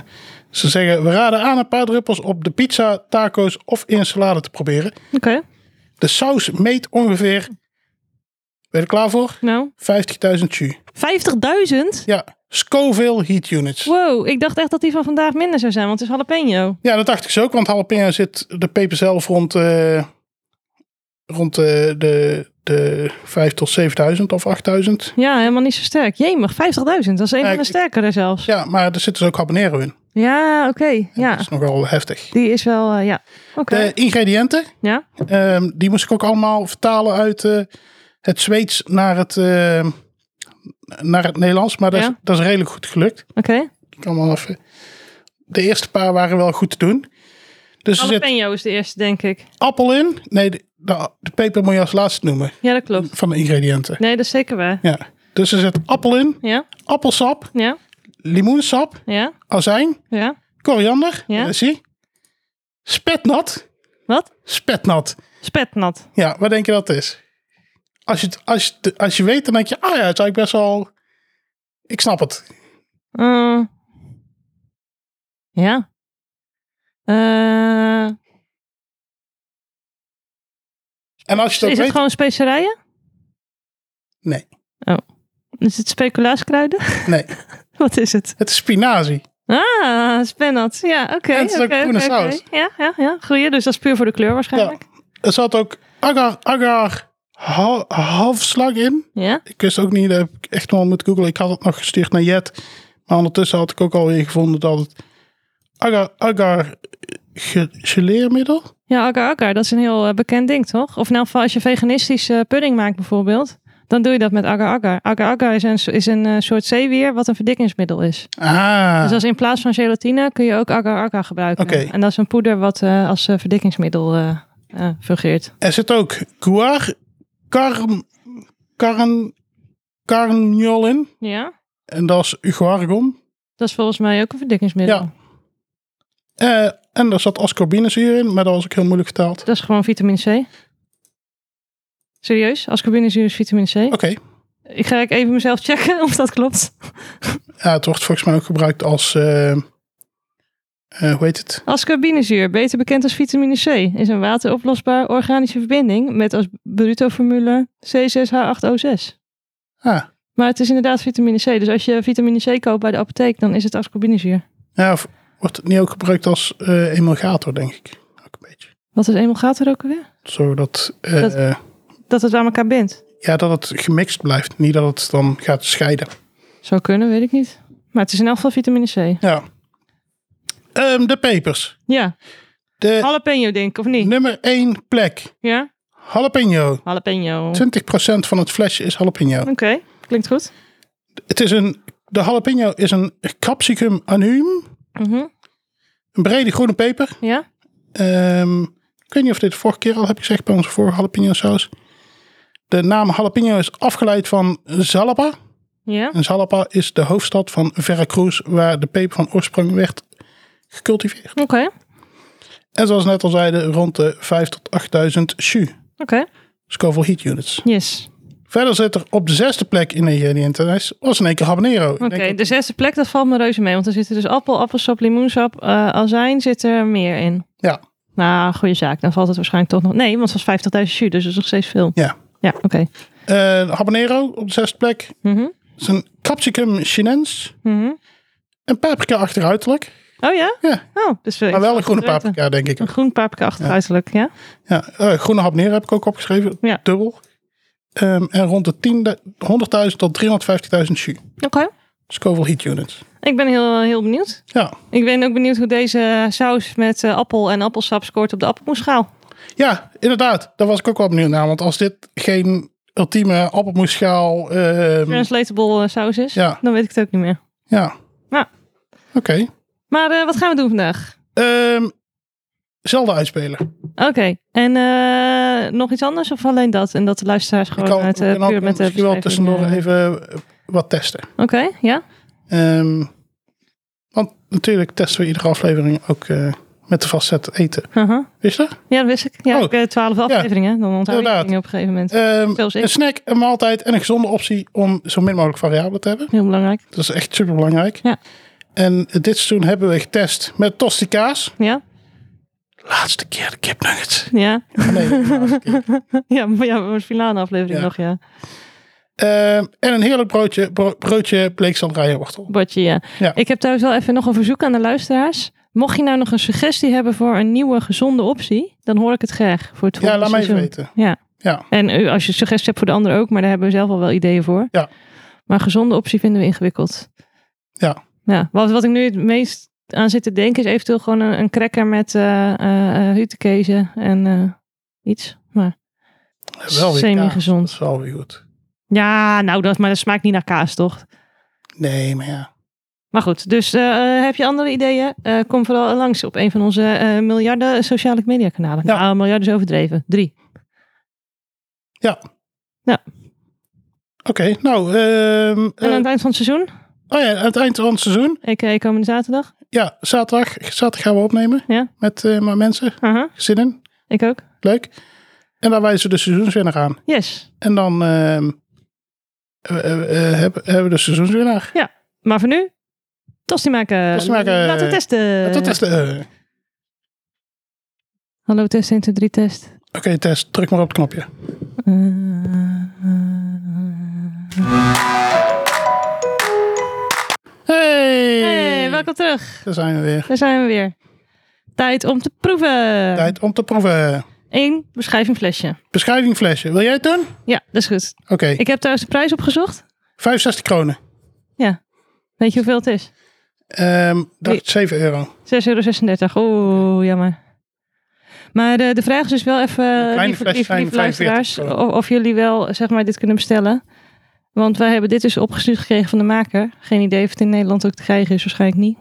Speaker 2: ze zeggen: we raden aan een paar druppels op de pizza, taco's of in salade te proberen.
Speaker 1: Oké.
Speaker 2: De saus meet ongeveer. Ben je er klaar voor?
Speaker 1: Nou,
Speaker 2: 50.000 jus.
Speaker 1: 50.000?
Speaker 2: Ja, Scoville heat units.
Speaker 1: Wow, ik dacht echt dat die van vandaag minder zou zijn, want het is jalapeno.
Speaker 2: Ja, dat dacht ik zo ook, want jalapeno zit de peper zelf rond, eh, rond eh, de, de 5 tot 7000 of 8000.
Speaker 1: Ja, helemaal niet zo sterk. Jemig, 50.000. Dat is een
Speaker 2: Ja,
Speaker 1: van de
Speaker 2: ik-
Speaker 1: sterkere zelfs. Ja,
Speaker 2: Ja, dus- maar er zit dus ook habanero in.
Speaker 1: oké.
Speaker 2: Dat
Speaker 1: Ja,
Speaker 2: is nogal heftig.
Speaker 1: die is wel... eh, ja. Oké.
Speaker 2: De ingrediënten,
Speaker 1: Ja?
Speaker 2: ehm, die moest ik ook allemaal vertalen uit eh, het Zweeds naar het, ehm, naar het Nederlands. Maar dat,
Speaker 1: Ja.
Speaker 2: is, dat is redelijk goed gelukt.
Speaker 1: Oké.
Speaker 2: Ik kan wel even... De eerste paar waren wel goed te doen. Dus er zit
Speaker 1: Jalapeno is de eerste, denk ik.
Speaker 2: appel in. Nee, de, de, de peper moet je als laatste noemen
Speaker 1: Ja, dat klopt.
Speaker 2: van de ingrediënten.
Speaker 1: Nee, dat is zeker waar.
Speaker 2: Ja. Dus er zit appel in,
Speaker 1: Ja,
Speaker 2: appelsap,
Speaker 1: ja,
Speaker 2: limoensap,
Speaker 1: ja,
Speaker 2: azijn,
Speaker 1: ja.
Speaker 2: koriander.
Speaker 1: Ja.
Speaker 2: eh, zie. Spetnat.
Speaker 1: Wat?
Speaker 2: Spetnat.
Speaker 1: Spetnat.
Speaker 2: Ja, wat denk je dat het is? Als je, het- als, je, het- als je weet, dan denk je, ah ja, het is eigenlijk best wel... Ik snap het.
Speaker 1: Eh, ja. Eh,
Speaker 2: En als je dat
Speaker 1: is
Speaker 2: weet...
Speaker 1: het gewoon specerijen?
Speaker 2: Nee,
Speaker 1: Is het speculaaskruiden?
Speaker 2: nee.
Speaker 1: Wat is het?
Speaker 2: Het is spinazie.
Speaker 1: Ah, spennat. Ja, oké.
Speaker 2: En het is ook
Speaker 1: oké,
Speaker 2: groene
Speaker 1: oké, oké.
Speaker 2: saus.
Speaker 1: Ja, ja, ja. Goeie, dus dat is puur voor de kleur waarschijnlijk.
Speaker 2: Er zat ook agar, agar ha- halfslag in.
Speaker 1: Ja.
Speaker 2: Ik wist ook niet, dat heb ik echt wel moeten googlen. Ik had het nog gestuurd naar Jet. Maar ondertussen had ik ook alweer gevonden dat het agar, agar ge- geleermiddel.
Speaker 1: Ja, agar agar, dat is een heel eh, bekend ding, toch? Of in elk geval als je veganistische pudding maakt bijvoorbeeld, dan doe je dat met agar agar. Agar agar is een, is een eh, soort zeewier wat een verdikkingsmiddel is.
Speaker 2: Ah,
Speaker 1: Dus als in plaats van gelatine kun je ook agar agar gebruiken.
Speaker 2: Oké.
Speaker 1: En dat is een poeder wat eh, als eh, verdikkingsmiddel eh, eh, fungeert.
Speaker 2: er zit ook guar, karm, karn, karniol in.
Speaker 1: Ja,
Speaker 2: En dat is guargom.
Speaker 1: dat is volgens mij ook een verdikkingsmiddel.
Speaker 2: Ja. Eh, en daar zat ascorbinezuur in, maar dat was ook heel moeilijk vertaald. Oké,
Speaker 1: Dat is gewoon vitamine C. Serieus? Ascorbinezuur is vitamine C. Ik ga even mezelf checken of dat klopt.
Speaker 2: ja, het wordt volgens mij ook gebruikt als, eh, eh, hoe heet het?
Speaker 1: Ascorbinezuur, beter bekend als vitamine C, is een wateroplosbaar organische verbinding met als brutoformule C6H8O6.
Speaker 2: Ah,
Speaker 1: Maar het is inderdaad vitamine C. Dus als je vitamine C koopt bij de apotheek, dan is het ascorbinezuur.
Speaker 2: ja, of wordt het niet ook gebruikt als eh, emulgator, denk ik. Ook een beetje.
Speaker 1: Wat is emulgator ook alweer?
Speaker 2: Zodat eh,
Speaker 1: Dat-
Speaker 2: eh,
Speaker 1: Dat het aan elkaar bindt.
Speaker 2: ja, dat het gemixt blijft. Niet dat het dan gaat scheiden.
Speaker 1: Zou kunnen, weet ik niet. Maar het is in elk geval vitamine C.
Speaker 2: Ja. Ehm, de pepers.
Speaker 1: Ja.
Speaker 2: De
Speaker 1: Jalapeno denk ik, of niet?
Speaker 2: nummer 1 plek.
Speaker 1: Ja?
Speaker 2: Jalapeno.
Speaker 1: Jalapeno.
Speaker 2: 20% van het flesje is jalapeno.
Speaker 1: Oké, klinkt goed.
Speaker 2: Het is een, de jalapeno is een capsicum annuum.
Speaker 1: Mhm.
Speaker 2: Een brede groene peper.
Speaker 1: Ja?
Speaker 2: Ehm, ik weet niet of dit vorige keer al heb gezegd bij onze vorige jalapeno saus. De naam jalapeno is afgeleid van Zalapa.
Speaker 1: Ja?
Speaker 2: En Zalapa is de hoofdstad van Veracruz, waar de peper van oorsprong werd gecultiveerd.
Speaker 1: Oké.
Speaker 2: En zoals we net al zeiden, rond de 5.000 tot 8000 SHU,
Speaker 1: Oké.
Speaker 2: Scoville Heat Units.
Speaker 1: Yes.
Speaker 2: Verder zit er op de zesde plek in de ingrediëntenlijst, was in één keer habanero.
Speaker 1: Oké, de zesde plek, dat valt me reuze mee. Want er zitten dus appel, appelsap, limoensap, eh, azijn zit er meer in.
Speaker 2: Ja,
Speaker 1: Nou, goede zaak. Dan valt het waarschijnlijk toch nog... Nee, want het was 50.000 jus, dus dat is nog steeds veel.
Speaker 2: ja.
Speaker 1: Ja, oké.
Speaker 2: Eh, habanero op de zesde plek.
Speaker 1: Mhm.
Speaker 2: Het is een capsicum chinens.
Speaker 1: Mhm.
Speaker 2: Een paprika achteruiterlijk.
Speaker 1: Oh ja?
Speaker 2: Ja.
Speaker 1: Oh, dus
Speaker 2: Maar wel een groene
Speaker 1: paprika.
Speaker 2: paprika, denk ik.
Speaker 1: Een groen paprika achteruitelijk, ja?
Speaker 2: Ja, eh, groene habanero heb ik ook opgeschreven.
Speaker 1: Ja.
Speaker 2: Dubbel. Ehm, en rond de 10.000 100.000 tot 350.000 SHU.
Speaker 1: Oké.
Speaker 2: Scoville Heat Units.
Speaker 1: Ik ben heel, eh, heel benieuwd.
Speaker 2: Ja.
Speaker 1: Ik ben ook benieuwd hoe deze saus met eh, appel en appelsap scoort op de appelmoesschaal.
Speaker 2: ja, inderdaad. Daar was ik ook wel benieuwd naar. Want als dit geen ultieme appelmoesschaal... ehm,
Speaker 1: Translatable eh, saus is,
Speaker 2: Ja.
Speaker 1: dan weet ik het ook niet meer.
Speaker 2: ja.
Speaker 1: Ja.
Speaker 2: Oké.
Speaker 1: Maar eh, wat gaan we doen vandaag?
Speaker 2: Ehm, zelden uitspelen.
Speaker 1: Oké, en eh, nog iets anders of alleen dat? En dat de luisteraars
Speaker 2: Ik
Speaker 1: gewoon
Speaker 2: kan,
Speaker 1: uit,
Speaker 2: we
Speaker 1: eh,
Speaker 2: kunnen ook
Speaker 1: puur met de
Speaker 2: misschien wel
Speaker 1: beschrijving,
Speaker 2: tussendoor
Speaker 1: eh,
Speaker 2: even eh, wat testen.
Speaker 1: Oké, ja?
Speaker 2: Ehm, want natuurlijk testen we iedere aflevering ook eh, met de vastzet eten.
Speaker 1: Aha.
Speaker 2: Wist je dat?
Speaker 1: Ja, dat wist ik. Ja,
Speaker 2: Oh.
Speaker 1: ik heb twaalf afleveringen, dan onthoud ik
Speaker 2: Inderdaad.
Speaker 1: dingen op een gegeven moment.
Speaker 2: Ehm,
Speaker 1: Zelfs ik.
Speaker 2: een snack, een maaltijd en een gezonde optie om zo min mogelijk variabelen te hebben.
Speaker 1: Heel belangrijk.
Speaker 2: Dat is echt super belangrijk.
Speaker 1: Ja.
Speaker 2: En dit seizoen hebben we getest met tosti kaas.
Speaker 1: Ja?
Speaker 2: Laatste keer de kipnuggets.
Speaker 1: Ja?
Speaker 2: Nee, de laatste keer.
Speaker 1: ja, maar ja, voor de finale aflevering
Speaker 2: Ja.
Speaker 1: nog, ja.
Speaker 2: Ehm, en een heerlijk broodje, bro- broodje bleekselderijwortel.
Speaker 1: Botje, ja.
Speaker 2: Ja.
Speaker 1: Ik heb trouwens wel even nog een verzoek aan de luisteraars. Mocht je nou nog een suggestie hebben voor een nieuwe gezonde optie, dan hoor ik het graag voor het
Speaker 2: Ja,
Speaker 1: volgende
Speaker 2: laat mij even
Speaker 1: seizoen.
Speaker 2: weten.
Speaker 1: Ja.
Speaker 2: Ja.
Speaker 1: En u, als je suggesties hebt voor de ander ook, maar daar hebben we zelf al wel ideeën voor.
Speaker 2: Ja.
Speaker 1: Maar gezonde optie vinden we ingewikkeld.
Speaker 2: Ja.
Speaker 1: ja wat, wat ik nu het meest aan zit te denken is eventueel gewoon een, een cracker met eh eh, eh, hutekezen en eh, iets. Maar
Speaker 2: Wel weer
Speaker 1: Semi-gezond.
Speaker 2: kaas. Dat is wel weer goed.
Speaker 1: ja, nou, dat, maar dat smaakt niet naar kaas, toch?
Speaker 2: Nee, maar ja.
Speaker 1: Maar goed, dus eh, eh, heb je andere ideeën? Eh, kom vooral langs op een van onze eh, miljarden sociale media kanalen.
Speaker 2: Ja.
Speaker 1: Nou, miljarden is overdreven. Drie.
Speaker 2: Ja.
Speaker 1: Ja.
Speaker 2: Oké, nou. ehm,
Speaker 1: En aan
Speaker 2: eh,
Speaker 1: het eind van het seizoen, eh,
Speaker 2: Oh ja, aan het eind van het seizoen.
Speaker 1: a.k.a. komende zaterdag.
Speaker 2: Ja, zaterdag, zaterdag gaan we opnemen.
Speaker 1: Ja.
Speaker 2: Met eh, mijn mensen,
Speaker 1: Aha,
Speaker 2: gezinnen.
Speaker 1: ik ook.
Speaker 2: Leuk. En daar wijzen we de seizoenswinnaar aan.
Speaker 1: Yes.
Speaker 2: En dan ehm, eh, eh, eh, hebben, hebben we de seizoenswinnaar.
Speaker 1: Maar voor nu, tosti maken.
Speaker 2: Tosti maken.
Speaker 1: Laten we testen.
Speaker 2: Dat is de... eh, Oké,
Speaker 1: Hallo test 1, 2, 3 test.
Speaker 2: Tess, druk maar op het knopje.
Speaker 1: Eh,
Speaker 2: Hey!
Speaker 1: Hey, welkom terug.
Speaker 2: Daar zijn we weer.
Speaker 1: Daar zijn we weer. Tijd om te proeven.
Speaker 2: Tijd om te proeven.
Speaker 1: Eén beschrijving flesje.
Speaker 2: Beschrijving flesje. Wil jij het doen?
Speaker 1: Ja, dat is goed.
Speaker 2: Oké,
Speaker 1: Ik heb trouwens de prijs opgezocht.
Speaker 2: 65 kronen.
Speaker 1: Ja. Weet je hoeveel het is?
Speaker 2: Ehm dat
Speaker 1: Nee.
Speaker 2: is 7 euro.
Speaker 1: 6,36 euro. Oeh, jammer. Maar de, de vraag is dus wel even,
Speaker 2: kleine
Speaker 1: lieve,
Speaker 2: flesjes
Speaker 1: lieve,
Speaker 2: zijn
Speaker 1: lieve luisteraars,
Speaker 2: 45
Speaker 1: of, of jullie wel zeg maar, dit kunnen bestellen. Want wij hebben dit dus opgestuurd gekregen van de maker. Geen idee of het in Nederland ook te krijgen is, waarschijnlijk niet.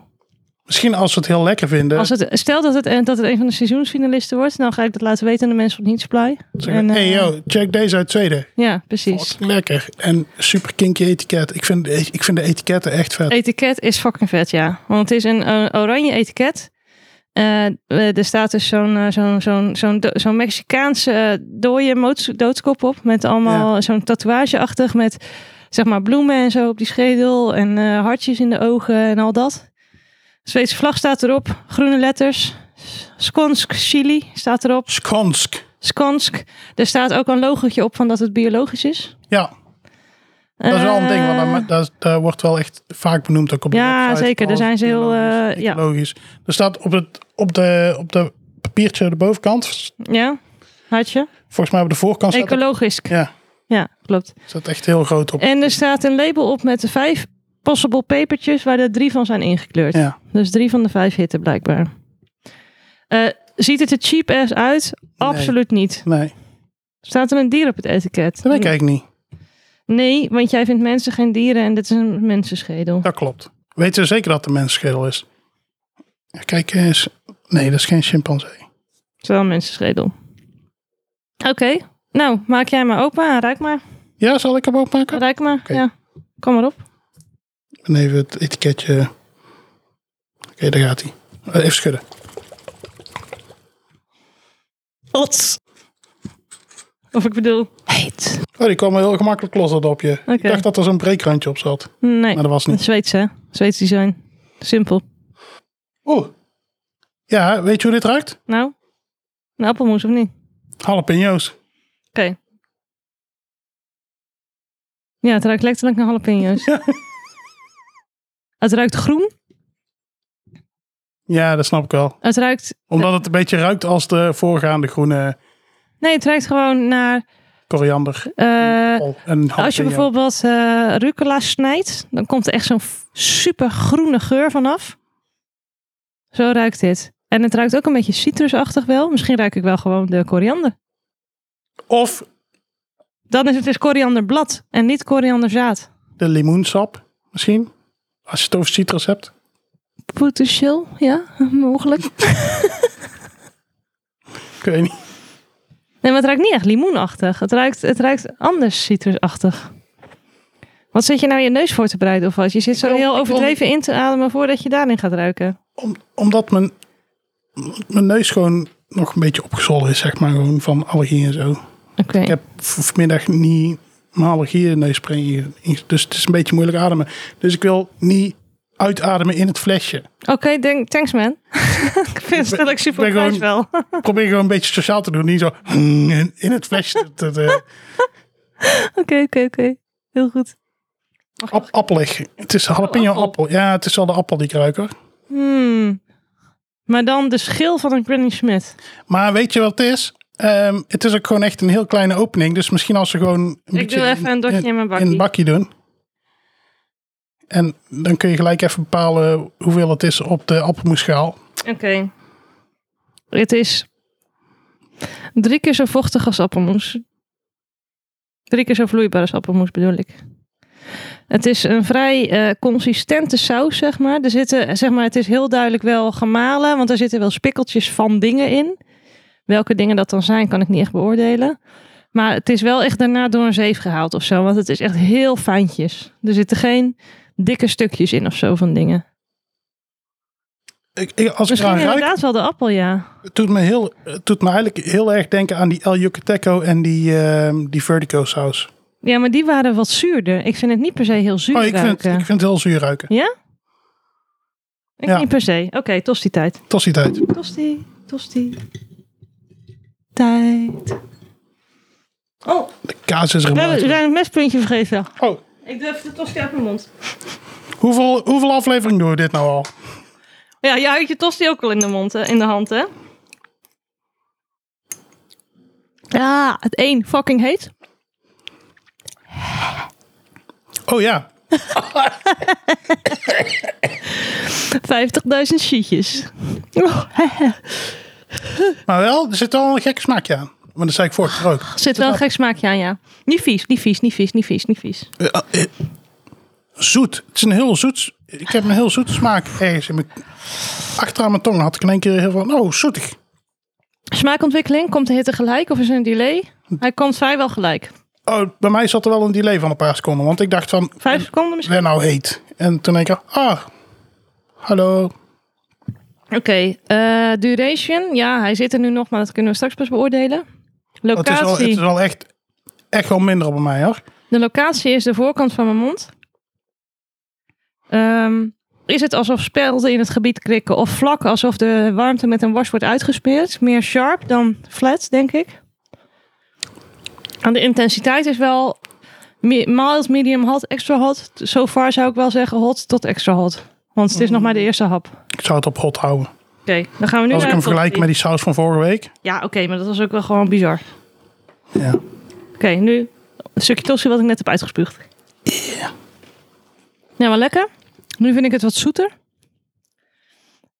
Speaker 2: Misschien als we het heel lekker vinden.
Speaker 1: Als het, stel dat het, eh, dat het een van de seizoensfinalisten wordt, dan ga ik dat laten weten aan de mensen van Heatsupply.
Speaker 2: Zeggen,
Speaker 1: En, eh,
Speaker 2: hey yo, check deze uit Zweden.
Speaker 1: Ja, precies.
Speaker 2: Fucking lekker. En super kinky etiket. Ik vind, ik vind de etiketten echt vet.
Speaker 1: Etiket is fucking vet, ja. Want het is een eh, oranje etiket. Eh, eh, er staat dus zo'n eh, zo'n zo'n zo'n do- zo'n Mexicaanse eh, dode moots- doodskop op. Met allemaal zo'n tatoeageachtig met zeg maar bloemen en zo op die schedel. En eh, hartjes in de ogen en al dat. De Zweedse vlag staat erop. Groene letters. Skonsk Chili staat erop.
Speaker 2: Skonsk.
Speaker 1: Skonsk. Er staat ook een logotje op van dat het biologisch is.
Speaker 2: Ja, dat is wel een ding. Want
Speaker 1: Eh,
Speaker 2: daar, daar, daar wordt wel echt vaak benoemd. Ook op de
Speaker 1: Ja,
Speaker 2: website,
Speaker 1: zeker. Daar
Speaker 2: alles
Speaker 1: zijn ze heel,
Speaker 2: biologisch,
Speaker 1: eh, ja.
Speaker 2: ecologisch. Er staat op het op de, op de papiertje aan de bovenkant.
Speaker 1: Ja, hartje.
Speaker 2: Volgens mij op de voorkant staat,
Speaker 1: Ecologisch.
Speaker 2: ja,
Speaker 1: Ja, klopt.
Speaker 2: staat echt heel groot op.
Speaker 1: En er staat een label op met de vijf possible papertjes waar er drie van zijn ingekleurd.
Speaker 2: Ja.
Speaker 1: Dus drie van de vijf hitten blijkbaar. Eh, ziet het er cheap ass uit? Absoluut niet.
Speaker 2: Nee,
Speaker 1: Staat er een dier op het etiket?
Speaker 2: dat weet ik eigenlijk niet.
Speaker 1: Nee, want jij vindt mensen geen dieren en dit is een mensenschedel.
Speaker 2: Dat klopt. Weten we zeker dat het een mensenschedel is? Ja, Kijk eens. Nee, dat is geen chimpansee.
Speaker 1: Het is wel een mensenschedel. Oké, nou maak jij maar open en ruik maar.
Speaker 2: Ja, zal ik hem opmaken?
Speaker 1: Ruik maar,
Speaker 2: Oké.
Speaker 1: ja. Kom maar op.
Speaker 2: Ik ben even het etiketje. Oké, daar gaat hij. Eh, Even schudden.
Speaker 1: Ots. Of ik bedoel, heet.
Speaker 2: Oh, die kwam heel gemakkelijk los dat op je. Ik
Speaker 1: Oké.
Speaker 2: dacht dat er zo'n breekrandje op zat.
Speaker 1: Nee,
Speaker 2: Maar dat was niet.
Speaker 1: Zweeds hè? Zweeds design. Simpel.
Speaker 2: Oeh. Ja, weet je hoe dit ruikt?
Speaker 1: Nou, een appelmoes of niet? Oké.
Speaker 2: Jalapenos.
Speaker 1: Ja, het ruikt letterlijk naar jalapeno's. Het ruikt groen.
Speaker 2: Ja, dat snap ik wel.
Speaker 1: Het ruikt...
Speaker 2: Omdat het een beetje ruikt als de voorgaande groene
Speaker 1: Nee, het ruikt gewoon naar...
Speaker 2: koriander.
Speaker 1: eh,
Speaker 2: Oh, en
Speaker 1: als je
Speaker 2: jalapeno.
Speaker 1: bijvoorbeeld eh, rucola snijdt, dan komt er echt zo'n f- super groene geur vanaf. Zo ruikt dit. En het ruikt ook een beetje citrusachtig wel. Misschien ruik ik wel gewoon de koriander.
Speaker 2: Of
Speaker 1: Dan is het dus korianderblad en niet korianderzaad.
Speaker 2: de limoensap misschien. Als je het over citrus hebt.
Speaker 1: Potentieel, ja, mogelijk.
Speaker 2: Ik weet niet.
Speaker 1: Nee, maar het ruikt niet echt limoenachtig. Het ruikt, het ruikt anders citrusachtig. Wat zit je nou je neus voor te breiden of wat? Je zit zo
Speaker 2: wil- ik
Speaker 1: heel
Speaker 2: wil-
Speaker 1: overdreven in te ademen voordat je daarin gaat ruiken.
Speaker 2: Om, omdat mijn, mijn neus gewoon nog een beetje opgezwollen is, zeg maar. Gewoon van allergie en zo.
Speaker 1: Oké.
Speaker 2: Ik heb v- vanmiddag niet mijn allergie in de neusspray inge- inge- Dus het is een beetje moeilijk ademen. Dus ik wil niet uitademen in het flesje.
Speaker 1: Oké, denk- thanks man. ik vind het stel ik super
Speaker 2: ben
Speaker 1: prijs wel.
Speaker 2: Ik probeer gewoon een beetje sociaal te doen. Niet zo in in het flesje. te- te-
Speaker 1: Oké, oké, oké. Heel goed.
Speaker 2: Ap- appelig. Het is jalapeno
Speaker 1: appel.
Speaker 2: appel. Ja, het is wel de appel die ik ruik hoor.
Speaker 1: Hmm. Maar dan de schil van een Granny Smith.
Speaker 2: Maar weet je wat het is? Ehm, het is ook gewoon echt een heel kleine opening. Dus misschien als ze gewoon een
Speaker 1: Ik doe even een dotje in mijn bakkie.
Speaker 2: in het bakje doen. En dan kun je gelijk even bepalen hoeveel het is op de appelmoesschaal.
Speaker 1: Oké. Het is drie keer zo vochtig als appelmoes. Drie keer zo vloeibaar als appelmoes bedoel ik. Het is een vrij eh, consistente saus, zeg maar. Er zitten, zeg maar. Het is heel duidelijk wel gemalen, want er zitten wel spikkeltjes van dingen in. Welke dingen dat dan zijn, kan ik niet echt beoordelen. Maar het is wel echt daarna door een zeef gehaald of zo, want het is echt heel fijntjes. Er zitten geen dikke stukjes in of zo van dingen.
Speaker 2: Ik, ik- als ik
Speaker 1: Misschien
Speaker 2: eraan ruik,
Speaker 1: inderdaad wel de appel, ja.
Speaker 2: Het doet me, heel, het doet me eigenlijk heel erg denken aan die El Yucateco en die, ehm, die Vertico saus.
Speaker 1: Ja, maar die waren wat zuurder. Ik vind het niet per se heel zuur
Speaker 2: Oh, ik vind,
Speaker 1: ruiken.
Speaker 2: ik vind het heel zuur ruiken.
Speaker 1: Ja? Ik
Speaker 2: Ja.
Speaker 1: niet per se. Oké, tosti tijd.
Speaker 2: Tot die tijd.
Speaker 1: Tosti, tosti. Tijd. Oh,
Speaker 2: De kaas is er
Speaker 1: we
Speaker 2: helemaal
Speaker 1: hebben- we
Speaker 2: uit.
Speaker 1: zijn het mespuntje vergeten.
Speaker 2: Oh,
Speaker 1: Ik durf de tosti uit mijn mond.
Speaker 2: hoeveel, hoeveel afleveringen doen we dit nou al?
Speaker 1: Ja, jij houdt je tosti ook al in de, mond, hè- in de hand, hè? Ja, het één fucking heet.
Speaker 2: Oh ja,
Speaker 1: 50.000 sheetjes.
Speaker 2: Oh, maar wel, er zit wel een gek smaakje aan. Maar dat zei ik vorige keer ook.
Speaker 1: Zit wel een gek smaakje aan, ja. Niet vies, niet vies, niet vies, niet vies, niet vies.
Speaker 2: Eh, eh, zoet. Het is een heel zoet... Ik heb een heel zoete smaak ergens in mijn... Achter aan mijn tong had ik in één keer heel van... Oh, zoetig.
Speaker 1: Smaakontwikkeling, komt de hitte gelijk of is er een delay? Hij komt vrijwel gelijk.
Speaker 2: Oh, bij mij zat er wel een delay van een paar seconden. Want ik dacht van...
Speaker 1: Vijf seconden misschien?
Speaker 2: ben nou heet. En toen denk ik, ah, hallo.
Speaker 1: Oké, eh, duration. Ja, hij zit er nu nog, maar dat kunnen we straks pas beoordelen.
Speaker 2: Oh, Het is wel, het is
Speaker 1: Locatie.
Speaker 2: wel echt, echt wel minder bij mij hoor.
Speaker 1: De locatie is de voorkant van mijn mond. Ehm, is het alsof spelden in het gebied krikken of vlak alsof de warmte met een was wordt uitgespeeld? Meer sharp dan flat, denk ik. En de intensiteit is wel me- mild, medium hot, extra hot. So far zou ik wel zeggen hot tot extra hot. Want het is nog maar de eerste hap. Oké,
Speaker 2: Ik zou het op hot houden.
Speaker 1: dan gaan we nu
Speaker 2: Mm. Als ik
Speaker 1: naar
Speaker 2: hem
Speaker 1: de top
Speaker 2: vergelijk
Speaker 1: drie.
Speaker 2: met die saus van vorige week.
Speaker 1: Ja, oké, maar dat was ook wel gewoon bizar.
Speaker 2: Ja.
Speaker 1: Oké, nu een stukje tossie wat ik net heb uitgespuugd. Ja, maar lekker. Nu vind ik het wat zoeter.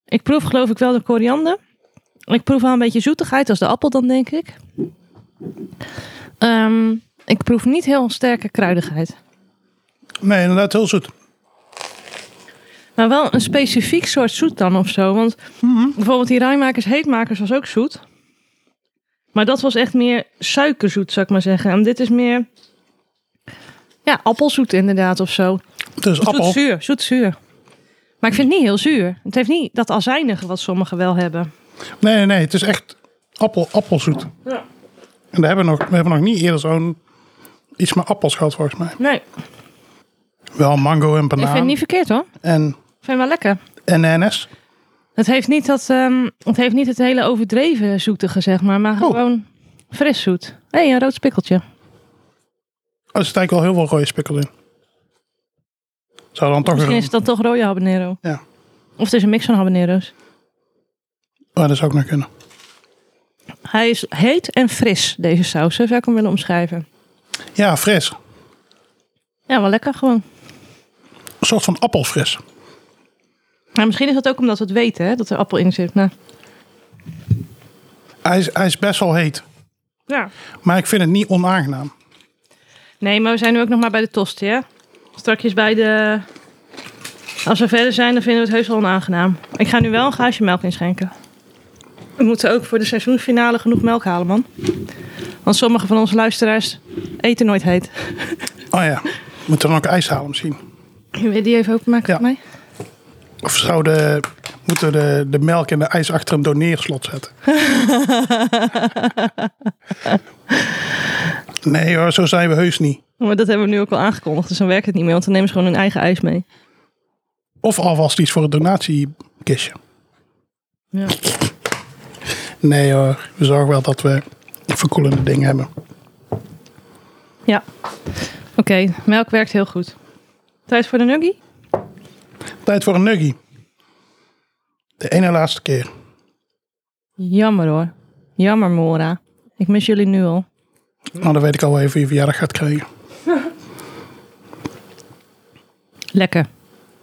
Speaker 1: Ik proef geloof ik wel de koriander. Ik proef wel een beetje zoetigheid als de appel dan, denk ik. Ehm, ik proef niet heel sterke kruidigheid.
Speaker 2: Nee, inderdaad, heel zoet.
Speaker 1: Maar wel een specifiek soort zoet dan of zo. Want bijvoorbeeld die rijmakers heetmakers was ook zoet. Maar dat was echt meer suikerzoet, zou ik maar zeggen. En dit is meer... Ja, appelzoet inderdaad of zo.
Speaker 2: Het is appel.
Speaker 1: Zoetzuur, zoetzuur. Maar ik vind het niet heel zuur. Het heeft niet dat azijnige wat sommigen wel hebben.
Speaker 2: Nee, nee, nee, het is echt appel, appelzoet.
Speaker 1: Ja.
Speaker 2: En daar hebben we nog, we hebben nog niet eerder zo'n iets met appels gehad, volgens mij.
Speaker 1: Nee,
Speaker 2: Wel mango en
Speaker 1: ik vind het
Speaker 2: banaan
Speaker 1: niet verkeerd hoor. Ik
Speaker 2: en,
Speaker 1: vind het wel lekker.
Speaker 2: en NS.
Speaker 1: Het heeft niet, dat, ehm, het, heeft niet het hele overdreven zoetige, zeg maar. Maar gewoon fris zoet. Hé, hey, een rood spikkeltje.
Speaker 2: Oh, Er zit eigenlijk wel heel veel rode spikkel in. Zou dan toch weer...
Speaker 1: Misschien is het dan toch rode habanero.
Speaker 2: Ja,
Speaker 1: Of het is een mix van habanero's.
Speaker 2: oh, dat zou ook nog kunnen.
Speaker 1: Hij is heet en fris, deze saus. Zo zou ik hem willen omschrijven.
Speaker 2: Ja, fris.
Speaker 1: Ja, wel lekker gewoon.
Speaker 2: Een soort van appelfris.
Speaker 1: Maar Nou, misschien is dat ook omdat we het weten, hè, dat er appel in zit. Nou,
Speaker 2: Hij is, hij is best wel heet.
Speaker 1: ja.
Speaker 2: Maar ik vind het niet onaangenaam.
Speaker 1: Nee, maar we zijn nu ook nog maar bij de tosti, hè? Strakjes bij de... Als we verder zijn, dan vinden we het heus wel onaangenaam. Ik ga nu wel een glaasje melk inschenken. We moeten ook voor de seizoensfinale genoeg melk halen, man. Want sommige van onze luisteraars eten nooit heet.
Speaker 2: Oh ja, moet dan ook ijs halen misschien.
Speaker 1: Wil je die even openmaken
Speaker 2: Ja.
Speaker 1: voor mij?
Speaker 2: Of zou de, moeten we de, de melk en de ijs achter een doneerslot zetten? nee hoor, zo zijn we heus niet.
Speaker 1: Maar dat hebben we nu ook al aangekondigd, dus dan werkt het niet meer. Want dan nemen ze gewoon hun eigen ijs mee.
Speaker 2: Of alvast iets voor het donatiekistje.
Speaker 1: Ja.
Speaker 2: Nee hoor, we zorgen wel dat we verkoelende dingen hebben.
Speaker 1: ja. Oké, melk werkt heel goed. Tijd voor de nuggie?
Speaker 2: Tijd voor een nuggie. De ene laatste keer.
Speaker 1: Jammer hoor. Jammer, Mora. Ik mis jullie nu al.
Speaker 2: Nou, dan weet ik al wel even wie je verjaardag gaat krijgen.
Speaker 1: Lekker.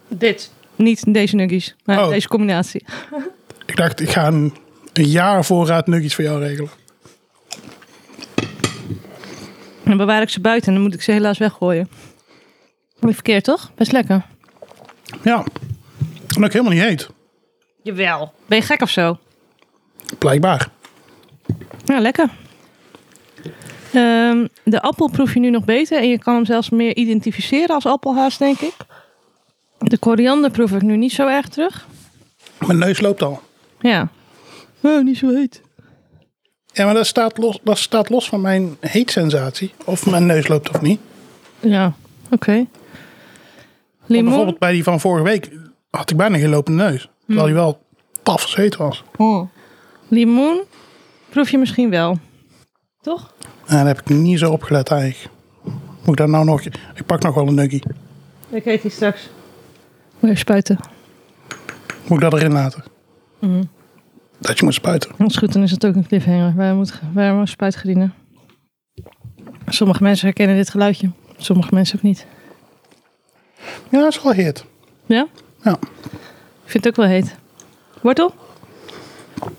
Speaker 1: Dit. Niet deze nuggies, maar
Speaker 2: Oh.
Speaker 1: deze combinatie.
Speaker 2: Ik dacht, ik ga een, een jaar voorraad nuggies voor jou regelen.
Speaker 1: Dan bewaar ik ze buiten en dan moet ik ze helaas weggooien. Niet verkeerd, toch? Best lekker.
Speaker 2: Ja. En ook helemaal niet heet.
Speaker 1: Jawel. Ben je gek of zo?
Speaker 2: Blijkbaar.
Speaker 1: Ja, Nou, lekker. Ehm, de appel proef je nu nog beter en je kan hem zelfs meer identificeren als appelhaas, denk ik. De koriander proef ik nu niet zo erg terug.
Speaker 2: Mijn neus loopt al.
Speaker 1: Ja. Oh, niet zo heet.
Speaker 2: Ja, maar dat staat los, dat staat los van mijn heetsensatie. Of mijn neus loopt of niet. Want
Speaker 1: Ja, oké. Limoen.
Speaker 2: bijvoorbeeld bij die van vorige week had ik bijna geen lopende neus. Terwijl die wel taf heet was.
Speaker 1: Oh. Limoen proef je misschien wel. Toch?
Speaker 2: En daar heb ik niet zo opgelet eigenlijk. Moet ik daar nou nog... Ik pak nog wel een nuggie.
Speaker 1: Ik eet die straks. Moet je spuiten.
Speaker 2: Moet ik dat erin laten? Dat je moet spuiten.
Speaker 1: Dat is goed, dan is het ook een cliffhanger. Wij moeten, wij moeten spuit gedienen. Sommige mensen herkennen dit geluidje. Sommige mensen ook niet.
Speaker 2: Ja, dat is wel heet.
Speaker 1: Ja?
Speaker 2: Ja.
Speaker 1: Ik vind het ook wel heet. Wortel?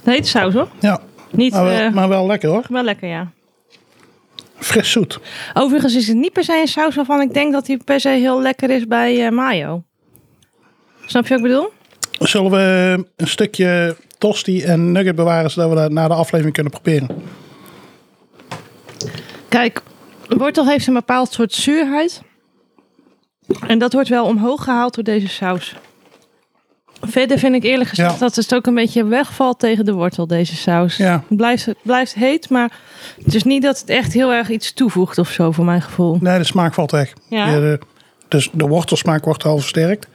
Speaker 1: De hete saus hoor.
Speaker 2: ja.
Speaker 1: Niet,
Speaker 2: Maar, wel,
Speaker 1: eh,
Speaker 2: maar wel lekker hoor.
Speaker 1: wel lekker ja.
Speaker 2: Fris zoet.
Speaker 1: Overigens is het niet per se een saus waarvan ik denk dat die per se heel lekker is bij eh, mayo. Snap je wat ik bedoel?
Speaker 2: Zullen we een stukje tosti en nugget bewaren... zodat we dat na de aflevering kunnen proberen?
Speaker 1: Kijk, wortel heeft een bepaald soort zuurheid. En dat wordt wel omhoog gehaald door deze saus. Verder vind ik eerlijk gezegd
Speaker 2: Ja.
Speaker 1: dat het ook een beetje wegvalt tegen de wortel, deze saus.
Speaker 2: Ja.
Speaker 1: Het, blijft, het blijft heet, maar het is niet dat het echt heel erg iets toevoegt of zo, voor mijn gevoel.
Speaker 2: Nee, de smaak valt weg.
Speaker 1: Ja.
Speaker 2: Je, de- dus de wortelsmaak wordt al versterkt.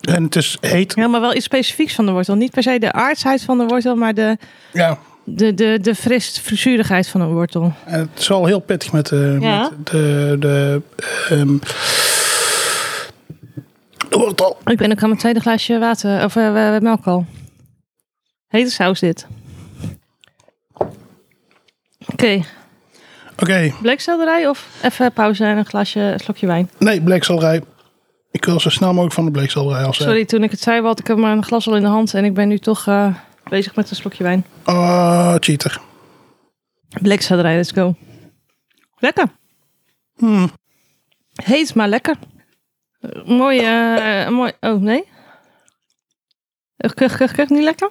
Speaker 2: En het is heet.
Speaker 1: Ja, maar wel iets specifieks van de wortel. Niet per se de aardsheid van de wortel, maar de,
Speaker 2: Ja.
Speaker 1: de, de, de fris, frisuurigheid van een wortel.
Speaker 2: En het is wel heel pittig met, eh,
Speaker 1: Ja.
Speaker 2: met de... de ehm, de wortel.
Speaker 1: Ik ben ook aan mijn tweede glaasje water, of eh, eh, melk al. Hete saus dit. Oké,
Speaker 2: Oké,
Speaker 1: bleekselderij of even pauze en een glaasje, een slokje wijn.
Speaker 2: nee, bleekselderij. Ik wil zo snel mogelijk van de bleekselderij af zijn.
Speaker 1: Sorry, toen ik het zei, had ik er maar een glas al in de hand. En ik ben nu toch eh, bezig met een slokje wijn.
Speaker 2: Ah, cheater.
Speaker 1: Bleekselderij, let's go. Lekker.
Speaker 2: Hmm.
Speaker 1: Heet, maar lekker. Eh, mooi, eh, mooi. Oh, nee. Eh, Kuch, kuch, kuch, niet lekker?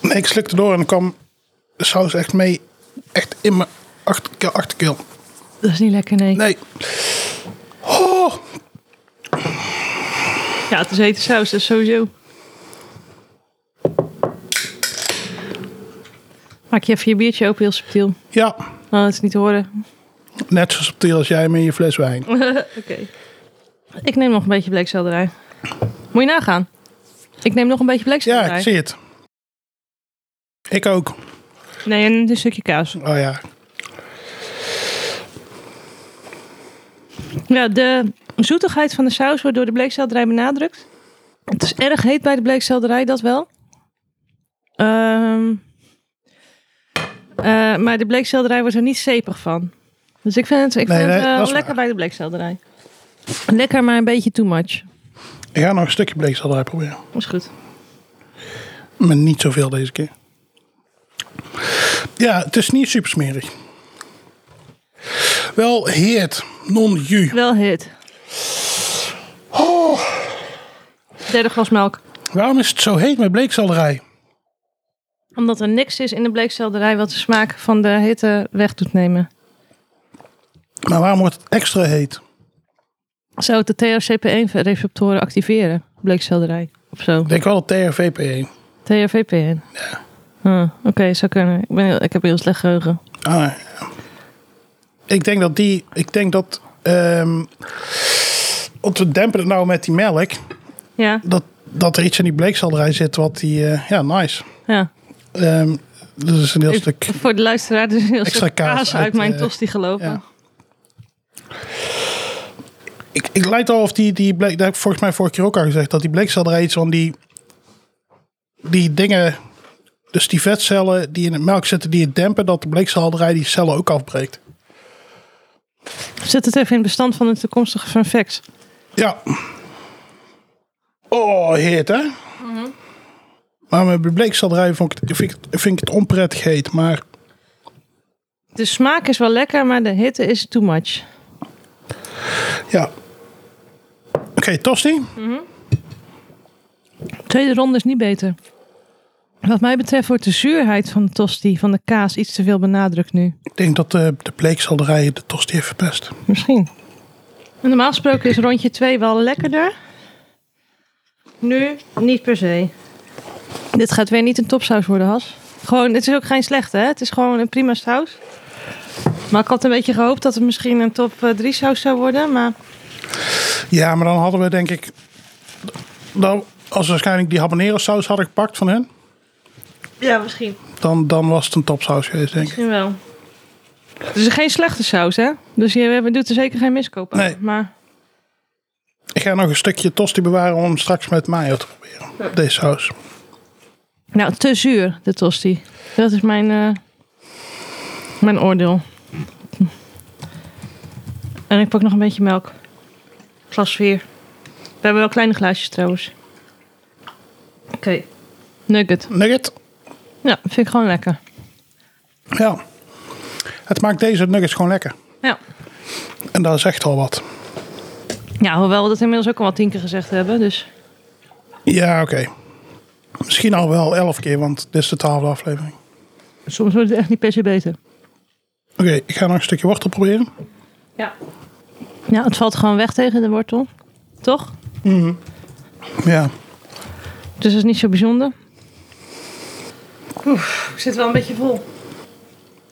Speaker 2: Nee, ik slikte door en dan kwam de saus echt mee. Echt in mijn achterkeel. achterkeel.
Speaker 1: Dat is niet lekker, nee.
Speaker 2: Nee. Oh,
Speaker 1: Ja, het is hete saus, dat is sowieso. Maak je even je biertje open, heel subtiel.
Speaker 2: ja,
Speaker 1: Nou, dat is niet te horen.
Speaker 2: net zo subtiel als jij met je fles wijn.
Speaker 1: Oké. Ik neem nog een beetje bleekselderij. Moet je nagaan. Ik neem nog een beetje bleekselderij.
Speaker 2: Ja, ik zie het. Ik ook.
Speaker 1: Nee, en een stukje kaas.
Speaker 2: Oh ja.
Speaker 1: Ja, de zoetigheid van de saus wordt door de bleekselderij benadrukt. Het is erg heet bij de bleekselderij, dat wel. Ehm, eh, maar de bleekselderij wordt er niet zeepig van. Dus ik vind het, ik
Speaker 2: Nee,
Speaker 1: vind het
Speaker 2: nee,
Speaker 1: eh,
Speaker 2: dat is
Speaker 1: lekker
Speaker 2: waar.
Speaker 1: bij de bleekselderij. Lekker, maar een beetje too much.
Speaker 2: Ik ga nog een stukje bleekselderij proberen.
Speaker 1: Dat is goed.
Speaker 2: Maar niet zoveel deze keer. Ja, het is niet super smerig. Wel heet, non-ju.
Speaker 1: Wel hit. Derde glas melk.
Speaker 2: Waarom is het zo heet met bleekselderij?
Speaker 1: Omdat er niks is in de bleekselderij wat de smaak van de hitte weg doet nemen.
Speaker 2: Maar waarom wordt het extra heet?
Speaker 1: Zou het de THCP1-receptoren activeren? Bleekselderij of zo?
Speaker 2: Ik denk wel dat TRVP1.
Speaker 1: THVPN? Ja. Oké, zou kunnen. Ik, ben heel- ik heb heel slecht geheugen.
Speaker 2: Ah, ja. Ik denk dat die. Ik denk dat. ehm om te dempen het nou met die melk.
Speaker 1: Ja,
Speaker 2: Dat, dat er iets in die bleekselderij zit wat die. eh, ja, nice.
Speaker 1: ja.
Speaker 2: Ehm dat is een heel
Speaker 1: Ik-
Speaker 2: stuk.
Speaker 1: voor de luisteraar dus een heel
Speaker 2: Extra
Speaker 1: stuk kaas,
Speaker 2: kaas
Speaker 1: uit,
Speaker 2: uit,
Speaker 1: mijn
Speaker 2: eh,
Speaker 1: tosti gelopen.
Speaker 2: ja. Ik, ik lijkt al of die. die bleek, dat heb ik volgens mij vorige keer ook al gezegd. Dat die bleekselderij iets van die. Die dingen. Dus die vetcellen die in het melk zitten, die het dempen, dat de bleekselderij die cellen ook afbreekt.
Speaker 1: Zet het even in het bestand van de toekomstige fanfacts.
Speaker 2: Ja. Oh, heet hè? Maar met bleekselderij vond ik, het- vind, ik, het- vind ik het onprettig heet. Maar
Speaker 1: De smaak is wel lekker, maar de hitte is too much.
Speaker 2: ja. Oké, tosti.
Speaker 1: Tweede ronde is niet beter. Wat mij betreft wordt de zuurheid van de tosti, van de kaas, iets te veel benadrukt nu.
Speaker 2: Ik denk dat de, de bleekselderij de tosti heeft verpest.
Speaker 1: Misschien. Normaal gesproken is rondje 2 wel lekkerder. Nu niet per se. Dit gaat weer niet een topsaus worden, Has. Gewoon, het is ook geen slechte, hè? Het is gewoon een prima saus. Maar ik had een beetje gehoopt dat het misschien een top 3 saus zou worden. Maar
Speaker 2: Ja, maar dan hadden we denk ik... Dan, als we waarschijnlijk die habanero saus hadden gepakt van hen...
Speaker 1: ja, misschien.
Speaker 2: Dan, dan was het een topsaus geweest, denk ik.
Speaker 1: Misschien wel. Het is geen slechte saus, hè? Dus je doet er zeker geen miskoop aan.
Speaker 2: Nee.
Speaker 1: Maar
Speaker 2: Ik ga nog een stukje tosti bewaren om hem straks met mayo te proberen. Deze saus.
Speaker 1: Nou, te zuur, de tosti. Dat is mijn, eh, mijn oordeel. En ik pak nog een beetje melk. Glas 4. We hebben wel kleine glaasjes trouwens. Oké. Nugget.
Speaker 2: Nugget.
Speaker 1: Ja, vind ik gewoon lekker.
Speaker 2: Ja. Het maakt deze nuggets gewoon lekker.
Speaker 1: Ja.
Speaker 2: En dat is echt al wat.
Speaker 1: ja, hoewel we dat inmiddels ook al wel tien keer gezegd hebben. Dus
Speaker 2: Ja, oké. Misschien al wel elf keer, want dit is de twaalfde aflevering.
Speaker 1: soms wordt het echt niet per se beter.
Speaker 2: Oké, ik ga nog een stukje wortel proberen.
Speaker 1: Ja. Ja, het valt gewoon weg tegen de wortel. Toch?
Speaker 2: Ja.
Speaker 1: Dus dat is niet zo bijzonder. Oef, ik zit wel een beetje vol.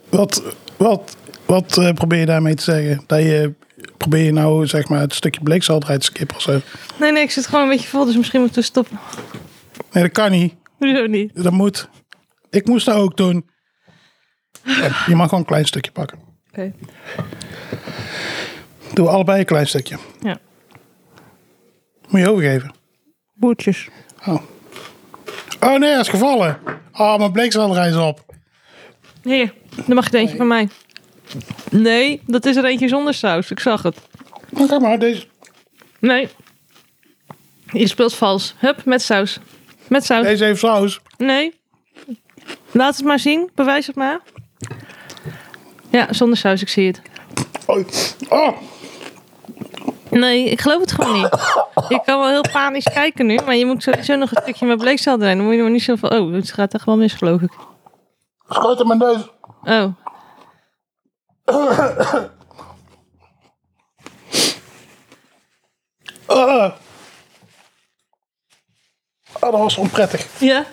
Speaker 2: Wat, wat, wat eh, probeer je daarmee te zeggen? Dat je, probeer je nou zeg maar het stukje bleekselderij te skippen of zo?
Speaker 1: Nee, nee, ik zit gewoon een beetje vol, dus misschien moeten we stoppen.
Speaker 2: Nee, dat kan niet.
Speaker 1: Hoezo niet?
Speaker 2: Dat moet. Ik moest dat ook doen. Ja, je mag gewoon een klein stukje pakken.
Speaker 1: Oké.
Speaker 2: Doe allebei een klein stukje.
Speaker 1: Ja.
Speaker 2: Moet je overgeven.
Speaker 1: Boertjes.
Speaker 2: Oh. Oh nee, hij is gevallen. Oh, mijn bleekselderij is op.
Speaker 1: Hier, dan mag je er eentje van mij. Nee, dat is er eentje zonder saus. Ik zag het.
Speaker 2: Maar kijk maar, deze.
Speaker 1: Nee. Je speelt vals. Hup, met saus. Met saus.
Speaker 2: Deze heeft saus.
Speaker 1: Nee. Laat het maar zien. Bewijs het maar. Ja, zonder saus. Ik zie het.
Speaker 2: Oh. oh.
Speaker 1: Nee, ik geloof het gewoon niet. Ik kan wel heel panisch kijken nu, maar je moet sowieso nog een stukje met bleekcel erin. Dan moet je nog niet zoveel... Oh, het gaat echt wel mis, geloof ik.
Speaker 2: Schoot hem in deze.
Speaker 1: Oh.
Speaker 2: Ah. Ah, dat was onprettig.
Speaker 1: Ja?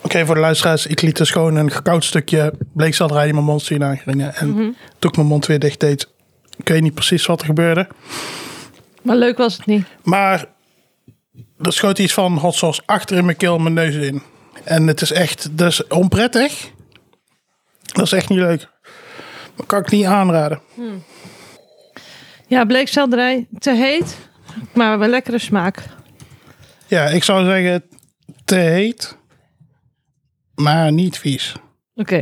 Speaker 2: Oké, voor de luisteraars. Ik liet dus gewoon een gekoud stukje bleekselderij in mijn mond zien aangringen. En toen ik mijn mond weer dicht deed, ik weet niet precies wat er gebeurde.
Speaker 1: Maar leuk was het niet.
Speaker 2: Maar er schoot iets van hot sauce achter in mijn keel en mijn neus in. En het is echt dus onprettig. Dat is echt niet leuk. Dat kan ik niet aanraden.
Speaker 1: Ja, bleekselderij. Te heet, maar wel lekkere smaak.
Speaker 2: Ja, ik zou zeggen te heet, maar niet vies.
Speaker 1: Oké.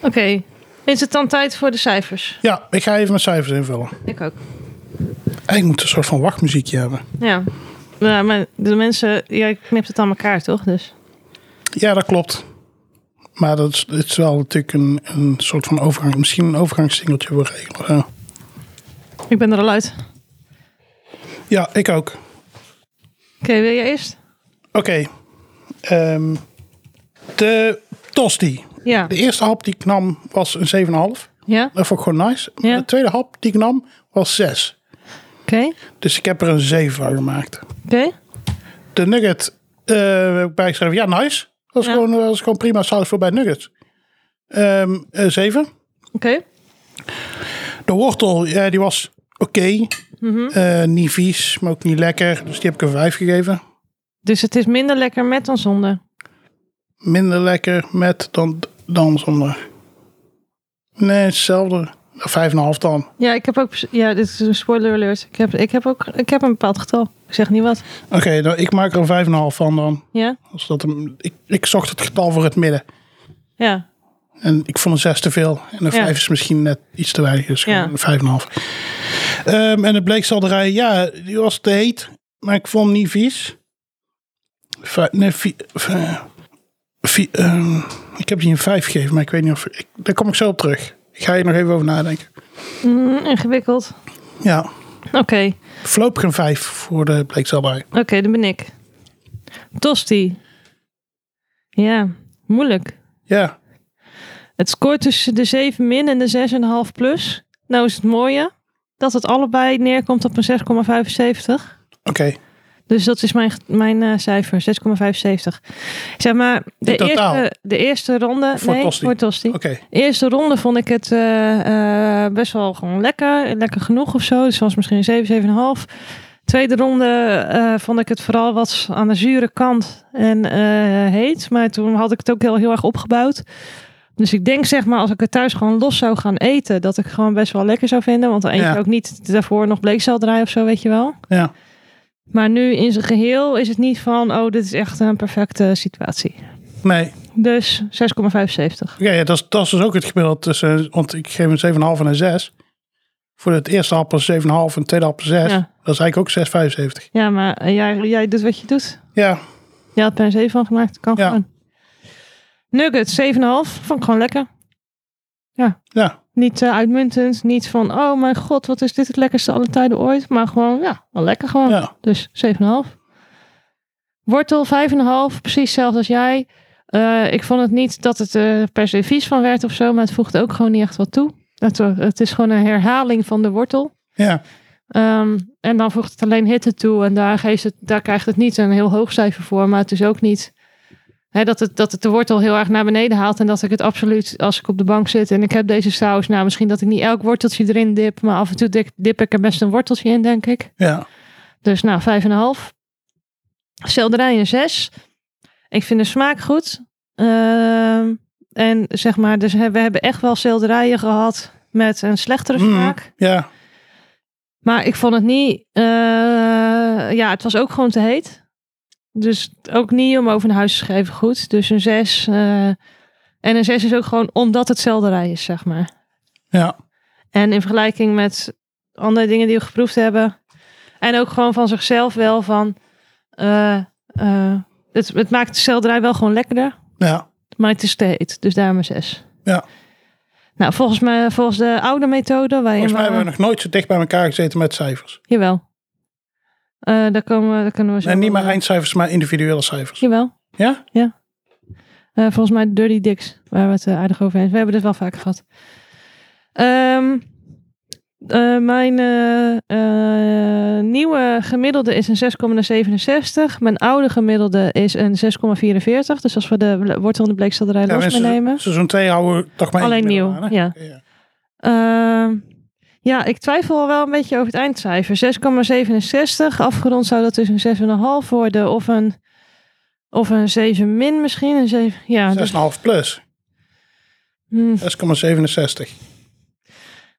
Speaker 1: Oké. Is het dan tijd voor de cijfers?
Speaker 2: Ja, ik ga even mijn cijfers invullen.
Speaker 1: Ik ook.
Speaker 2: En ik moet een soort van wachtmuziekje hebben.
Speaker 1: Ja. Ja, maar de mensen... Jij knipt het aan elkaar, toch? Dus...
Speaker 2: Ja, dat klopt. Maar dat is, het is wel natuurlijk een, een soort van overgang. Misschien een overgangssingeltje wil regelen. zo.
Speaker 1: Ik ben er al uit.
Speaker 2: Ja, ik ook.
Speaker 1: Oké, wil jij eerst?
Speaker 2: Oké. Ehm, de tosti.
Speaker 1: Ja.
Speaker 2: De eerste hap die ik nam was een 7,5.
Speaker 1: Ja? Oké.
Speaker 2: Dat vond ik gewoon nice. Maar
Speaker 1: Ja.
Speaker 2: De tweede hap die ik nam was 6. Dus ik heb er een 7 van gemaakt.
Speaker 1: Oké.
Speaker 2: De nugget eh heb ik bijgeschreven. Ja, nice. Dat is,
Speaker 1: Ja.
Speaker 2: gewoon, eh, dat is gewoon prima saus voor bij nuggets. Ehm 7.
Speaker 1: Oké.
Speaker 2: De wortel, ja, die was oké. Eh, niet vies, maar ook niet lekker. Dus die heb ik een 5 gegeven.
Speaker 1: Dus het is minder lekker met dan zonder.
Speaker 2: Minder lekker met dan, dan zonder. Nee, hetzelfde. 5,5 dan.
Speaker 1: Ja, ik heb ook. Ja, dit is een spoiler alert. Ik heb, ik heb ook. Ik heb een bepaald getal. Ik zeg niet wat.
Speaker 2: Oké, dan- ik maak er een 5,5 van dan.
Speaker 1: Ja?
Speaker 2: Als dat een, ik, ik zocht het getal voor het midden.
Speaker 1: Ja.
Speaker 2: En ik vond een 6 te veel. En een
Speaker 1: Ja.
Speaker 2: 5 is misschien net iets te weinig. Dus
Speaker 1: Ja.
Speaker 2: gewoon een 5,5. Ehm en de bleekselderij, ja, die was te heet. Maar ik vond hem niet vies. Vi- nee, vi- vi- vi- ehm, ik heb die een 5 gegeven, maar ik weet niet of... Ik, daar kom ik zo op terug. Ik ga hier nog even over nadenken.
Speaker 1: Mm, ingewikkeld.
Speaker 2: Ja,
Speaker 1: Oké.
Speaker 2: voorlopig een 5 voor de bleekselderij.
Speaker 1: Oké, dan ben ik. Tosti. Ja, moeilijk.
Speaker 2: Ja,
Speaker 1: Het scoort tussen de 7 min en de 6,5 plus. Nou is het mooie dat het allebei neerkomt op een 6,75.
Speaker 2: oké.
Speaker 1: Dus dat is mijn, mijn eh, cijfer, 6,75. Zeg maar, de,
Speaker 2: totaal?
Speaker 1: eerste, de eerste ronde...
Speaker 2: Voor
Speaker 1: nee,
Speaker 2: Tosti.
Speaker 1: voor Tosti.
Speaker 2: Oké,
Speaker 1: De eerste ronde vond ik het eh, eh, best wel gewoon lekker. Lekker genoeg of zo. Dus het was misschien een 7, 7,5. Tweede ronde eh, vond ik het vooral wat aan de zure kant en eh, heet. Maar toen had ik het ook heel, heel erg opgebouwd. Dus ik denk zeg maar als ik het thuis gewoon los zou gaan eten... dat ik gewoon best wel lekker zou vinden. Want dan eet je
Speaker 2: Ja.
Speaker 1: ook niet daarvoor nog bleekselderij of zo, weet je wel.
Speaker 2: ja.
Speaker 1: Maar nu in zijn geheel is het niet van, oh, dit is echt een perfecte situatie.
Speaker 2: Nee,
Speaker 1: Dus 6,75.
Speaker 2: Oké, ja, dat, is, dat is dus ook het gemiddelde tussen, want ik geef een 7,5 en een 6. Voor het eerste appel 7,5 en het tweede appel 6.
Speaker 1: Ja.
Speaker 2: Dat is eigenlijk ook 6,75.
Speaker 1: Ja, maar eh, jij, jij doet wat je doet.
Speaker 2: Ja,
Speaker 1: Jij had er een 7 van gemaakt, kan
Speaker 2: Ja.
Speaker 1: gewoon. Nuggets, 7,5. Vond ik gewoon lekker.
Speaker 2: ja,
Speaker 1: Niet eh, uitmuntend, niet van, oh mijn god, wat is dit het lekkerste alle tijden ooit. Maar gewoon, ja, wel lekker gewoon.
Speaker 2: ja.
Speaker 1: Dus 7,5. Wortel 5,5, precies hetzelfde als jij. Eh, ik vond het niet dat het eh, per se vies van werd of zo, maar het voegt ook gewoon niet echt wat toe. Het, eh, het is gewoon een herhaling van de wortel.
Speaker 2: ja.
Speaker 1: Ehm, en dan voegt het alleen hitte toe en daar, geeft het, daar krijgt het niet een heel hoog cijfer voor. Maar het is ook niet hè, dat, het, dat het de wortel heel erg naar beneden haalt. En dat ik het absoluut, als ik op de bank zit en ik heb deze saus, nou misschien dat ik niet elk worteltje erin dip, maar af en toe dip, dip ik er best een worteltje in, denk ik.
Speaker 2: ja.
Speaker 1: Dus nou, 5,5. Selderij een 6. Ik vind de smaak goed. Ehm, en zeg maar, dus hè, we hebben echt wel selderijen gehad met een slechtere
Speaker 2: Mm,
Speaker 1: smaak.
Speaker 2: ja.
Speaker 1: Maar ik vond het niet... eh, ja, het was ook gewoon te heet. Dus ook niet om over een huis te schrijven goed. Dus een 6. eh, en een 6 is ook gewoon omdat het selderij is, zeg maar.
Speaker 2: Ja.
Speaker 1: En in vergelijking met andere dingen die we geproefd hebben. En ook gewoon van zichzelf wel van. eh, eh, het, het maakt de selderij wel gewoon lekkerder.
Speaker 2: Ja.
Speaker 1: Maar het is steed, dus daarom een 6.
Speaker 2: Ja.
Speaker 1: Nou, volgens, mij, volgens de oude methode. Waarin
Speaker 2: Volgens mij
Speaker 1: we,
Speaker 2: hebben we nog nooit zo dicht bij elkaar gezeten met cijfers.
Speaker 1: Jawel. Eh, daar, komen, we- daar kunnen we zo.
Speaker 2: En niet maar eindcijfers, maar individuele cijfers.
Speaker 1: Jawel.
Speaker 2: Ja?
Speaker 1: Ja. Eh, volgens mij Dirty Dicks, waar we het eh, aardig over eens. We hebben dit wel vaker gehad. Ehm, eh, mijn eh, eh, nieuwe gemiddelde is een 6,67. Mijn oude gemiddelde is een 6,44. Dus als we de wortel en de bleekselderij
Speaker 2: Ja,
Speaker 1: los
Speaker 2: mensen,
Speaker 1: meenemen.
Speaker 2: Seizoen 2 houden we toch maar één
Speaker 1: Alleen
Speaker 2: gemiddelde
Speaker 1: nieuw,
Speaker 2: aan, hè?
Speaker 1: ja. Ah,
Speaker 2: Oké, ja.
Speaker 1: Ehm, ja, ik twijfel al wel een beetje over het eindcijfer. 6,67. Afgerond zou dat dus een 6,5 worden. Of een, of een 7 min misschien. Een 7, ja, dus,
Speaker 2: 6,5 plus.
Speaker 1: hmm,
Speaker 2: 6,67.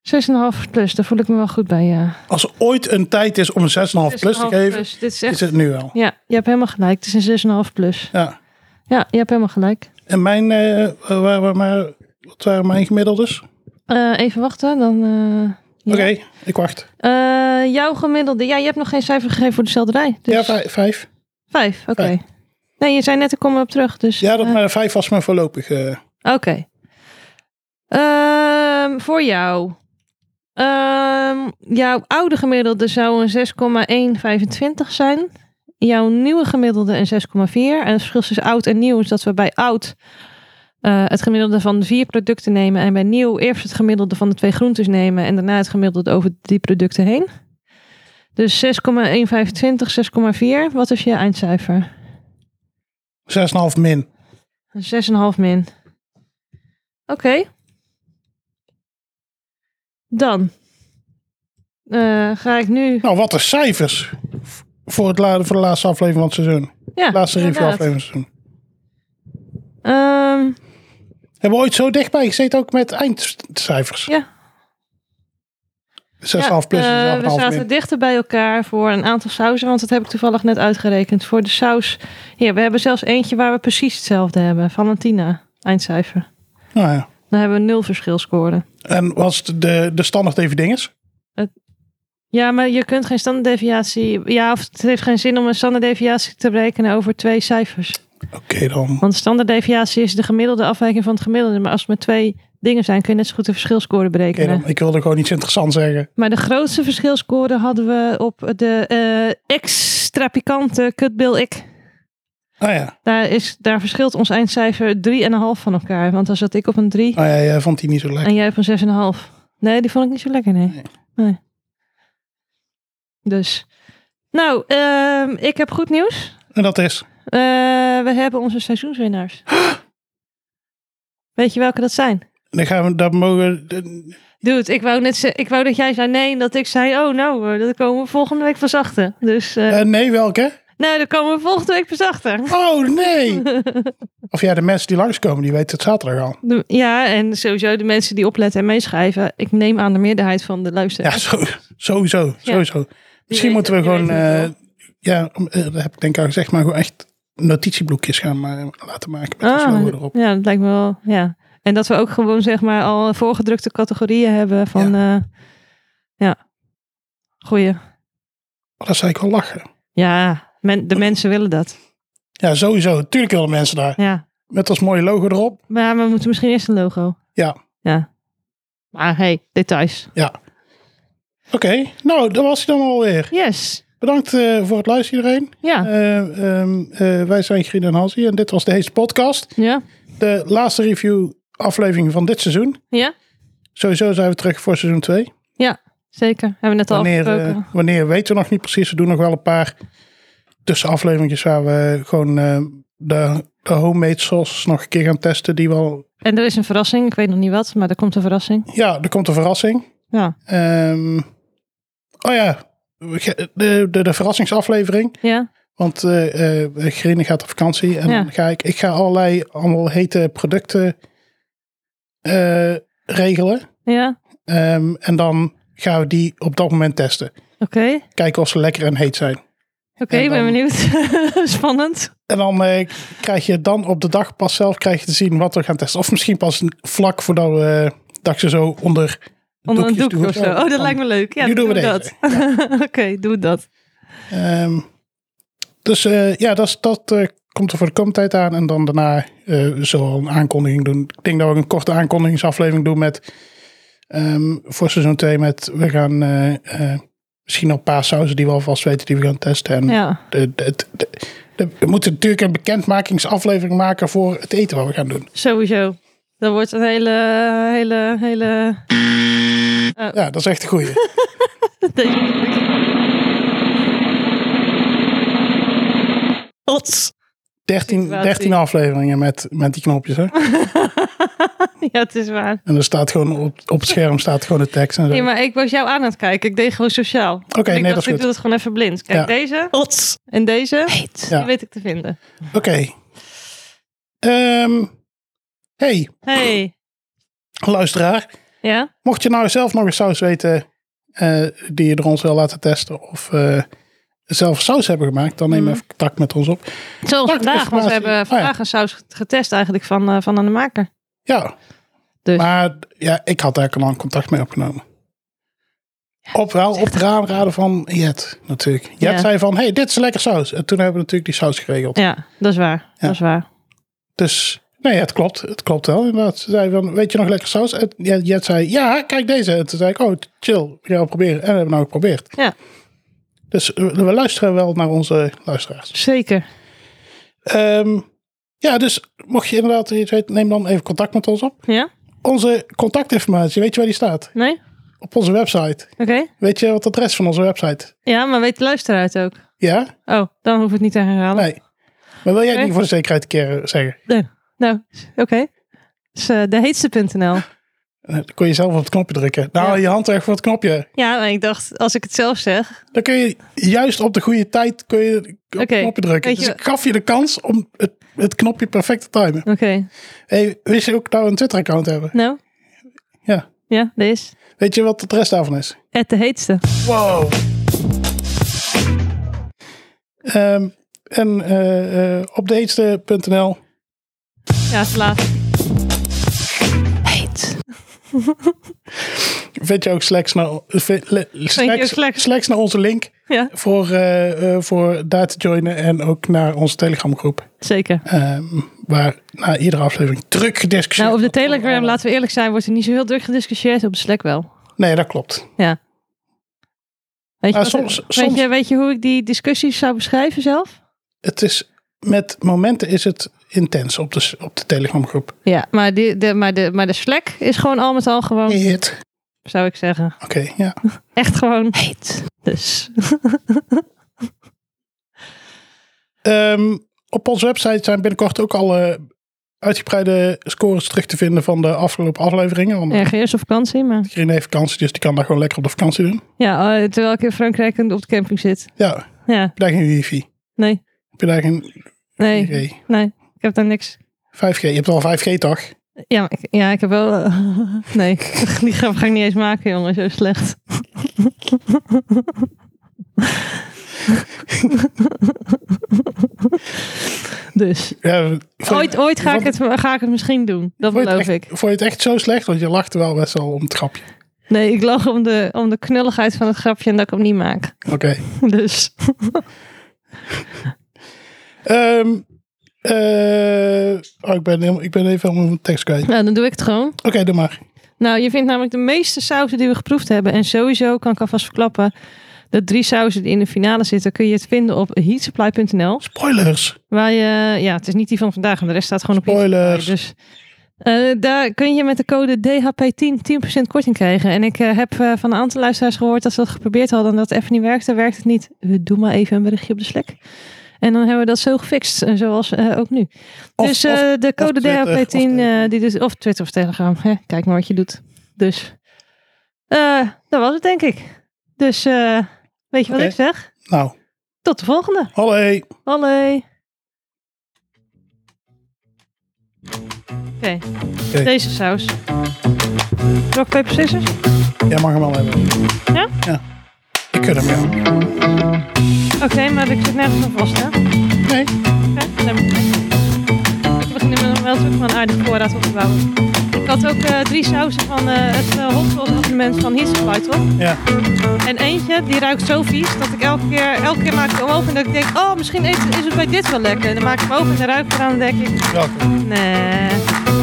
Speaker 1: 6,5 plus. Daar voel ik me wel goed bij, ja.
Speaker 2: Als er ooit een tijd is om een 6,5 plus te
Speaker 1: 6,5
Speaker 2: geven,
Speaker 1: plus. Dit is
Speaker 2: is
Speaker 1: echt...
Speaker 2: het nu wel.
Speaker 1: Ja, je hebt helemaal gelijk. Het is een 6,5 plus.
Speaker 2: Ja.
Speaker 1: Ja, je hebt helemaal gelijk.
Speaker 2: En mijn, eh, waar, waar, maar, wat waren mijn gemiddeldes?
Speaker 1: Eh, even wachten, dan... eh, ja.
Speaker 2: Oké, ik wacht.
Speaker 1: Eh, jouw gemiddelde... Ja, je hebt nog geen cijfer gegeven voor de selderij. Dus
Speaker 2: Ja, vijf. vijf.
Speaker 1: Vijf, oké.
Speaker 2: Vijf.
Speaker 1: Nee, je zei net, ik kom erop terug. Dus,
Speaker 2: Ja, dat,
Speaker 1: eh,
Speaker 2: maar vijf was mijn voorlopig. eh,
Speaker 1: Oké. Ehm, voor jou. Ehm, jouw oude gemiddelde zou een 6,125 zijn. Jouw nieuwe gemiddelde een 6,4. En het verschil tussen oud en nieuw is dat we bij oud eh, het gemiddelde van de vier producten nemen. En bij nieuw eerst het gemiddelde van de twee groentes nemen. En daarna het gemiddelde over die producten heen. Dus 6,125, 6,4. Wat is je eindcijfer?
Speaker 2: 6,5 min.
Speaker 1: Een 6,5 min. Oké. Dan eh, ga ik nu.
Speaker 2: Nou, wat een cijfers voor, het la, voor de laatste aflevering van het seizoen.
Speaker 1: Ja,
Speaker 2: laatste review
Speaker 1: inderdaad.
Speaker 2: aflevering van het seizoen.
Speaker 1: Ehm,
Speaker 2: Hebben we ooit zo dichtbij gezeten ook met eindcijfers?
Speaker 1: Ja.
Speaker 2: 6,5 plus,
Speaker 1: ja, eh, we
Speaker 2: 6,5
Speaker 1: zaten
Speaker 2: min.
Speaker 1: dichter bij elkaar voor een aantal sausen, want dat heb ik toevallig net uitgerekend. Voor de saus. Hier, we hebben zelfs eentje waar we precies hetzelfde hebben: Valentina, eindcijfer.
Speaker 2: Nou ja.
Speaker 1: Dan hebben we nul verschil scoren.
Speaker 2: En was het de, de standaard even dinges?
Speaker 1: Ja, maar je kunt geen standaarddeviatie. Ja, of het heeft geen zin om een standaarddeviatie te berekenen over twee cijfers.
Speaker 2: Oké dan.
Speaker 1: Want standaarddeviatie is de gemiddelde afwijking van het gemiddelde. Maar als het maar twee dingen zijn, kun je net zo goed de verschilscore
Speaker 2: Oké
Speaker 1: berekenen.
Speaker 2: dan. Ik wilde gewoon iets interessants zeggen.
Speaker 1: Maar de grootste verschilscore hadden we op de eh extra pikante kutbil ik.
Speaker 2: Nou ja.
Speaker 1: Daar, is, daar verschilt ons eindcijfer 3,5 van elkaar. Want dan zat ik op een 3
Speaker 2: Nou ja, jij vond die niet zo lekker.
Speaker 1: en jij op een 6,5. Nee, die vond ik niet zo lekker, nee.
Speaker 2: Nee.
Speaker 1: Nee. Dus. Nou, ehm, ik heb goed nieuws.
Speaker 2: En dat is.
Speaker 1: Eh, we hebben onze seizoenswinnaars. Weet je welke dat zijn?
Speaker 2: Dan gaan we, dat mogen,
Speaker 1: Dude, ik wou, net ze- ik wou dat jij zei nee. En dat ik zei, oh nou, eh, dat komen we volgende week pas achter. Dus, eh,
Speaker 2: eh, nee, welke?
Speaker 1: nou, dat komen we volgende week pas achter.
Speaker 2: Oh nee! Of ja, de mensen die langskomen, die weten het zaterdag al.
Speaker 1: De- Ja, en sowieso de mensen die opletten en meeschrijven. Ik neem aan de meerderheid van de luisteraars.
Speaker 2: Ja, zo, sowieso. sowieso.
Speaker 1: weten-
Speaker 2: Misschien moeten we
Speaker 1: die
Speaker 2: gewoon,
Speaker 1: weten het
Speaker 2: eh, ja, om- eh, dat heb ik denk ik al gezegd, maar gewoon echt notitieblokjes gaan maar laten maken met een
Speaker 1: Ah,
Speaker 2: slogan erop.
Speaker 1: ja, dat lijkt me wel, ja. En dat we ook gewoon, zeg maar, al voorgedrukte categorieën hebben van... Ja. ja. Goeie.
Speaker 2: Maar Oh, dat zou ik wel lachen.
Speaker 1: Ja, men- de mensen willen dat.
Speaker 2: Ja, sowieso. Tuurlijk willen mensen daar.
Speaker 1: Ja.
Speaker 2: Met ons mooie logo erop.
Speaker 1: Maar we moeten misschien eerst een logo.
Speaker 2: Ja,
Speaker 1: Ja. Maar hey, details.
Speaker 2: ja. Oké, nou, dat was hij dan alweer.
Speaker 1: Yes.
Speaker 2: Bedankt eh, voor het luisteren iedereen.
Speaker 1: Ja.
Speaker 2: Eh, ehm, eh, wij zijn Grien en Hansie en dit was deze podcast.
Speaker 1: Ja.
Speaker 2: De laatste review aflevering van dit seizoen.
Speaker 1: Ja.
Speaker 2: Sowieso zijn we terug voor seizoen 2.
Speaker 1: Ja, zeker. Hebben we net al
Speaker 2: Wanneer,
Speaker 1: afgesproken.
Speaker 2: eh, wanneer weten we nog niet precies. We doen nog wel een paar tussenafleveringetjes waar we gewoon eh, de, de homemade sauce nog een keer gaan testen. Die wel...
Speaker 1: en er is een verrassing. Ik weet nog niet wat, maar er komt een verrassing.
Speaker 2: Ja, er komt een verrassing.
Speaker 1: Ja.
Speaker 2: Ehm, oh ja, we ge- de, de, de verrassingsaflevering.
Speaker 1: Ja.
Speaker 2: Want eh eh, Gerine gaat op vakantie. En
Speaker 1: Ja.
Speaker 2: dan ga ik, ik ga allerlei allemaal hete producten eh, regelen.
Speaker 1: Ja.
Speaker 2: Ehm, en dan gaan we die op dat moment testen.
Speaker 1: Oké.
Speaker 2: Kijken of ze lekker en heet zijn.
Speaker 1: Oké, ik ben
Speaker 2: En
Speaker 1: benieuwd. Spannend.
Speaker 2: En dan eh, krijg je dan op de dag pas zelf krijg je te zien wat we gaan testen. Of misschien pas vlak voordat we dat je zo onder,
Speaker 1: Onder een
Speaker 2: doekjes
Speaker 1: doek
Speaker 2: doen
Speaker 1: of zo. Oh, dat
Speaker 2: van-
Speaker 1: lijkt me leuk. Ja,
Speaker 2: nu
Speaker 1: dan
Speaker 2: doen we
Speaker 1: dat. Oké, doe dat.
Speaker 2: Ehm, dus eh, ja, dat, is- dat eh, komt er voor de komende tijd aan. En dan daarna eh zullen we een aankondiging doen. Ik denk dat we ook een korte aankondigingsaflevering doen met ehm, voor seizoen 2 met we gaan eh, eh, misschien al een paar sauzen die we alvast weten die we gaan testen. En
Speaker 1: Ja.
Speaker 2: de, de, de- de- de- we moeten natuurlijk een bekendmakingsaflevering maken voor het eten wat we gaan doen.
Speaker 1: Sowieso. Dat wordt een hele, hele, hele...
Speaker 2: Ja, dat is echt een goeie.
Speaker 1: Ots.
Speaker 2: 13,
Speaker 1: Situatie.
Speaker 2: 13 afleveringen met, met die knopjes. Hè?
Speaker 1: Ja, het is waar.
Speaker 2: En er staat gewoon op, op het scherm staat gewoon de tekst. En zo.
Speaker 1: Nee, maar ik was jou aan het kijken. Ik deed gewoon sociaal. Oké,
Speaker 2: nee, dat is
Speaker 1: Ik
Speaker 2: goed.
Speaker 1: doe het gewoon even blind. Kijk,
Speaker 2: Ja.
Speaker 1: deze. En deze. Heet.
Speaker 2: Ja.
Speaker 1: Die weet ik te vinden.
Speaker 2: Oké. Ehm, hey,
Speaker 1: Hey.
Speaker 2: luisteraar.
Speaker 1: Ja?
Speaker 2: Mocht je nou zelf nog een saus weten eh, die je door ons wil laten testen. Of eh, zelf saus hebben gemaakt. Dan
Speaker 1: Mm.
Speaker 2: neem even contact met ons op.
Speaker 1: Zoals
Speaker 2: Pak
Speaker 1: vandaag, want we
Speaker 2: informatie.
Speaker 1: hebben
Speaker 2: Oh, ja.
Speaker 1: vandaag een saus getest eigenlijk van, eh, van aan de maker.
Speaker 2: Ja.
Speaker 1: Dus.
Speaker 2: Maar ja, ik had daar al lang contact mee opgenomen. Op wel op de aanraden van Jet natuurlijk. Jet
Speaker 1: Ja.
Speaker 2: zei van, hey, dit is lekker saus. En toen hebben we natuurlijk die saus geregeld.
Speaker 1: Ja, dat is waar. Dat is waar.
Speaker 2: Dus nee, het klopt. Het klopt wel. Inderdaad. Ze zei van, weet je nog lekker saus? En Jet, Jet zei, ja, kijk deze. En toen zei ik, oh, chill. We gaan het proberen. En we hebben we nou geprobeerd.
Speaker 1: Ja,
Speaker 2: Dus eh, we luisteren wel naar onze luisteraars.
Speaker 1: zeker.
Speaker 2: Ehm, ja, dus mocht je inderdaad iets weten, neem dan even contact met ons op.
Speaker 1: Ja?
Speaker 2: Onze contactinformatie, weet je waar die staat?
Speaker 1: Nee? Oké.
Speaker 2: Op onze website. Weet je wat het adres van onze website?
Speaker 1: Ja, maar weet de luisteraar het ook?
Speaker 2: Ja?
Speaker 1: Oh, dan hoef ik het niet te herhalen.
Speaker 2: Nee. Maar wil jij het
Speaker 1: Oké.
Speaker 2: niet voor de zekerheid een keer eh, zeggen?
Speaker 1: Nee. Nou, oké. Dus, eh, deheetste.nl.
Speaker 2: Eh, Dan kun je zelf op het knopje drukken. Nou,
Speaker 1: Ja.
Speaker 2: je hand weg voor het knopje.
Speaker 1: Ja, maar ik dacht, als ik het zelf zeg.
Speaker 2: Dan kun je juist op de goede tijd kun je op
Speaker 1: Oké,
Speaker 2: het knopje drukken.
Speaker 1: weet
Speaker 2: Dus
Speaker 1: je-
Speaker 2: ik gaf je de kans om het, het knopje perfect te timen.
Speaker 1: Oké.
Speaker 2: Hey, wist je ook dat we een Twitter-account hebben?
Speaker 1: Nou,
Speaker 2: Ja.
Speaker 1: ja, deze is.
Speaker 2: Weet je wat het rest daarvan is?
Speaker 1: Het de heetste.
Speaker 2: Wow. Ehm, en eh eh op deheetste.nl.
Speaker 1: Ja, is laat. Heet.
Speaker 2: vind je ook slechts naar, vind- le-
Speaker 1: ook
Speaker 2: slechts,
Speaker 1: slechts?
Speaker 2: slechts naar onze link
Speaker 1: Ja,
Speaker 2: voor, eh, eh, voor daar te joinen en ook naar onze telegramgroep.
Speaker 1: zeker.
Speaker 2: Ehm, waar na iedere aflevering druk
Speaker 1: Nou,
Speaker 2: gediscussieerd
Speaker 1: op de
Speaker 2: wordt over
Speaker 1: Telegram,
Speaker 2: alle-
Speaker 1: laten we eerlijk zijn, wordt er niet zo heel druk gediscussieerd. Op de Slack wel.
Speaker 2: Nee, dat klopt.
Speaker 1: Ja. Weet je, wat-
Speaker 2: Nou, soms-
Speaker 1: weet,
Speaker 2: soms-
Speaker 1: je, weet je hoe ik die discussies zou beschrijven zelf?
Speaker 2: Het is, met momenten is het intens op de, op de telegramgroep.
Speaker 1: Ja, maar, die, de, maar, de, maar de Slack is gewoon al met al gewoon,
Speaker 2: Hit.
Speaker 1: zou ik zeggen.
Speaker 2: Oké, ja.
Speaker 1: Echt gewoon heet. Dus.
Speaker 2: Ehm, op onze website zijn binnenkort ook alle uitgebreide scores terug te vinden van de afgelopen afleveringen. Want
Speaker 1: Ja, ik ga eerst op vakantie, maar...
Speaker 2: iedereen heeft vakantie, dus die kan daar gewoon lekker op de vakantie doen.
Speaker 1: Ja, eh, terwijl ik in Frankrijk en op de camping zit.
Speaker 2: Ja, heb
Speaker 1: Ja,
Speaker 2: je daar geen wifi?
Speaker 1: nee,
Speaker 2: Heb je daar geen
Speaker 1: nee,
Speaker 2: 4G?
Speaker 1: nee. Ik heb daar niks.
Speaker 2: 5G, je hebt al 5G toch?
Speaker 1: Ja, maar ik, ja, ik heb wel... eh, nee, die grap ga ik niet eens maken, jongen. Zo slecht. dus,
Speaker 2: Ja, vond je-
Speaker 1: ooit, ooit ga,
Speaker 2: vond-
Speaker 1: ik het, ga ik het misschien doen. Dat
Speaker 2: vond je het
Speaker 1: beloof ik.
Speaker 2: echt- Vond je het echt zo slecht? Want je lachte wel best wel om het grapje.
Speaker 1: Nee, ik lach om de, om de knulligheid van het grapje en dat ik hem niet maak.
Speaker 2: Oké.
Speaker 1: Dus,
Speaker 2: Ehm, eh, oh, ik, ben helemaal, ik ben even helemaal mijn tekst kwijt. Oké,
Speaker 1: nou, dan doe ik het gewoon.
Speaker 2: doe maar.
Speaker 1: Nou, je vindt namelijk de meeste sauzen die we geproefd hebben. En sowieso kan ik alvast verklappen. De drie sauzen die in de finale zitten, kun je het vinden op heatsupply.nl.
Speaker 2: Spoilers.
Speaker 1: Waar je, ja, het is niet die van vandaag, maar de rest staat gewoon op
Speaker 2: Spoilers.
Speaker 1: Heatsupply, Dus eh, daar kun je met de code DHP10 10% korting krijgen. En ik eh, heb eh, van een aantal luisteraars gehoord dat ze dat geprobeerd hadden en dat het even niet werkte. Werkt het niet? Eh, Doe maar even een berichtje op de Slack. En dan hebben we dat zo gefixt, eh, zoals eh, ook nu.
Speaker 2: Of-
Speaker 1: dus
Speaker 2: of-
Speaker 1: eh, de code
Speaker 2: Twitter, of
Speaker 1: DHP10, eh,
Speaker 2: Telegram.
Speaker 1: die dus, of Twitter of Telegram. Hè? Kijk maar wat je doet. Dus eh, dat was het, denk ik. Dus eh, weet je wat
Speaker 2: Oké.
Speaker 1: ik zeg?
Speaker 2: Nou,
Speaker 1: Tot de volgende.
Speaker 2: hallo.
Speaker 1: Hallé. Oké,
Speaker 2: Oké.
Speaker 1: deze saus. Rock, paper, scissors?
Speaker 2: Jij mag hem al hebben.
Speaker 1: Ja?
Speaker 2: Ja. Ik ken hem, ja.
Speaker 1: Oké, maar ik zit nergens aan vast, hè? Oké,
Speaker 2: Nee,
Speaker 1: dan ben ik blij. We beginnen met een wel zoeken van een aardige voorraad op te bouwen. Ik had ook eh, drie sausen van eh, het eh, hot sauce assortiment van His Supply, toch?
Speaker 2: ja.
Speaker 1: En eentje, die ruikt zo vies dat ik elke keer, elke keer maak ik hem open en dat ik denk, oh, misschien is, is het bij dit wel lekker. En dan maak ik hem open en dan ruik ik eraan en dan denk ik,
Speaker 2: Welke?
Speaker 1: nee,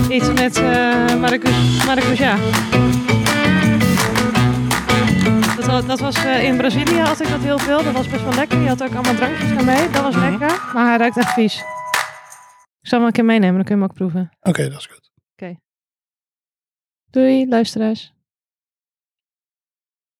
Speaker 1: iets met eh maracu- maracuja. Dat, wa- dat was eh, in Brazilië, had ik dat heel veel. Dat was best wel lekker. Je had ook allemaal drankjes ermee. Dat was
Speaker 2: Mhm.
Speaker 1: lekker. Maar hij ruikt echt vies. Ik zal hem een keer meenemen, dan kun je hem ook proeven.
Speaker 2: Oké, dat is goed.
Speaker 1: Doei, luisteraars.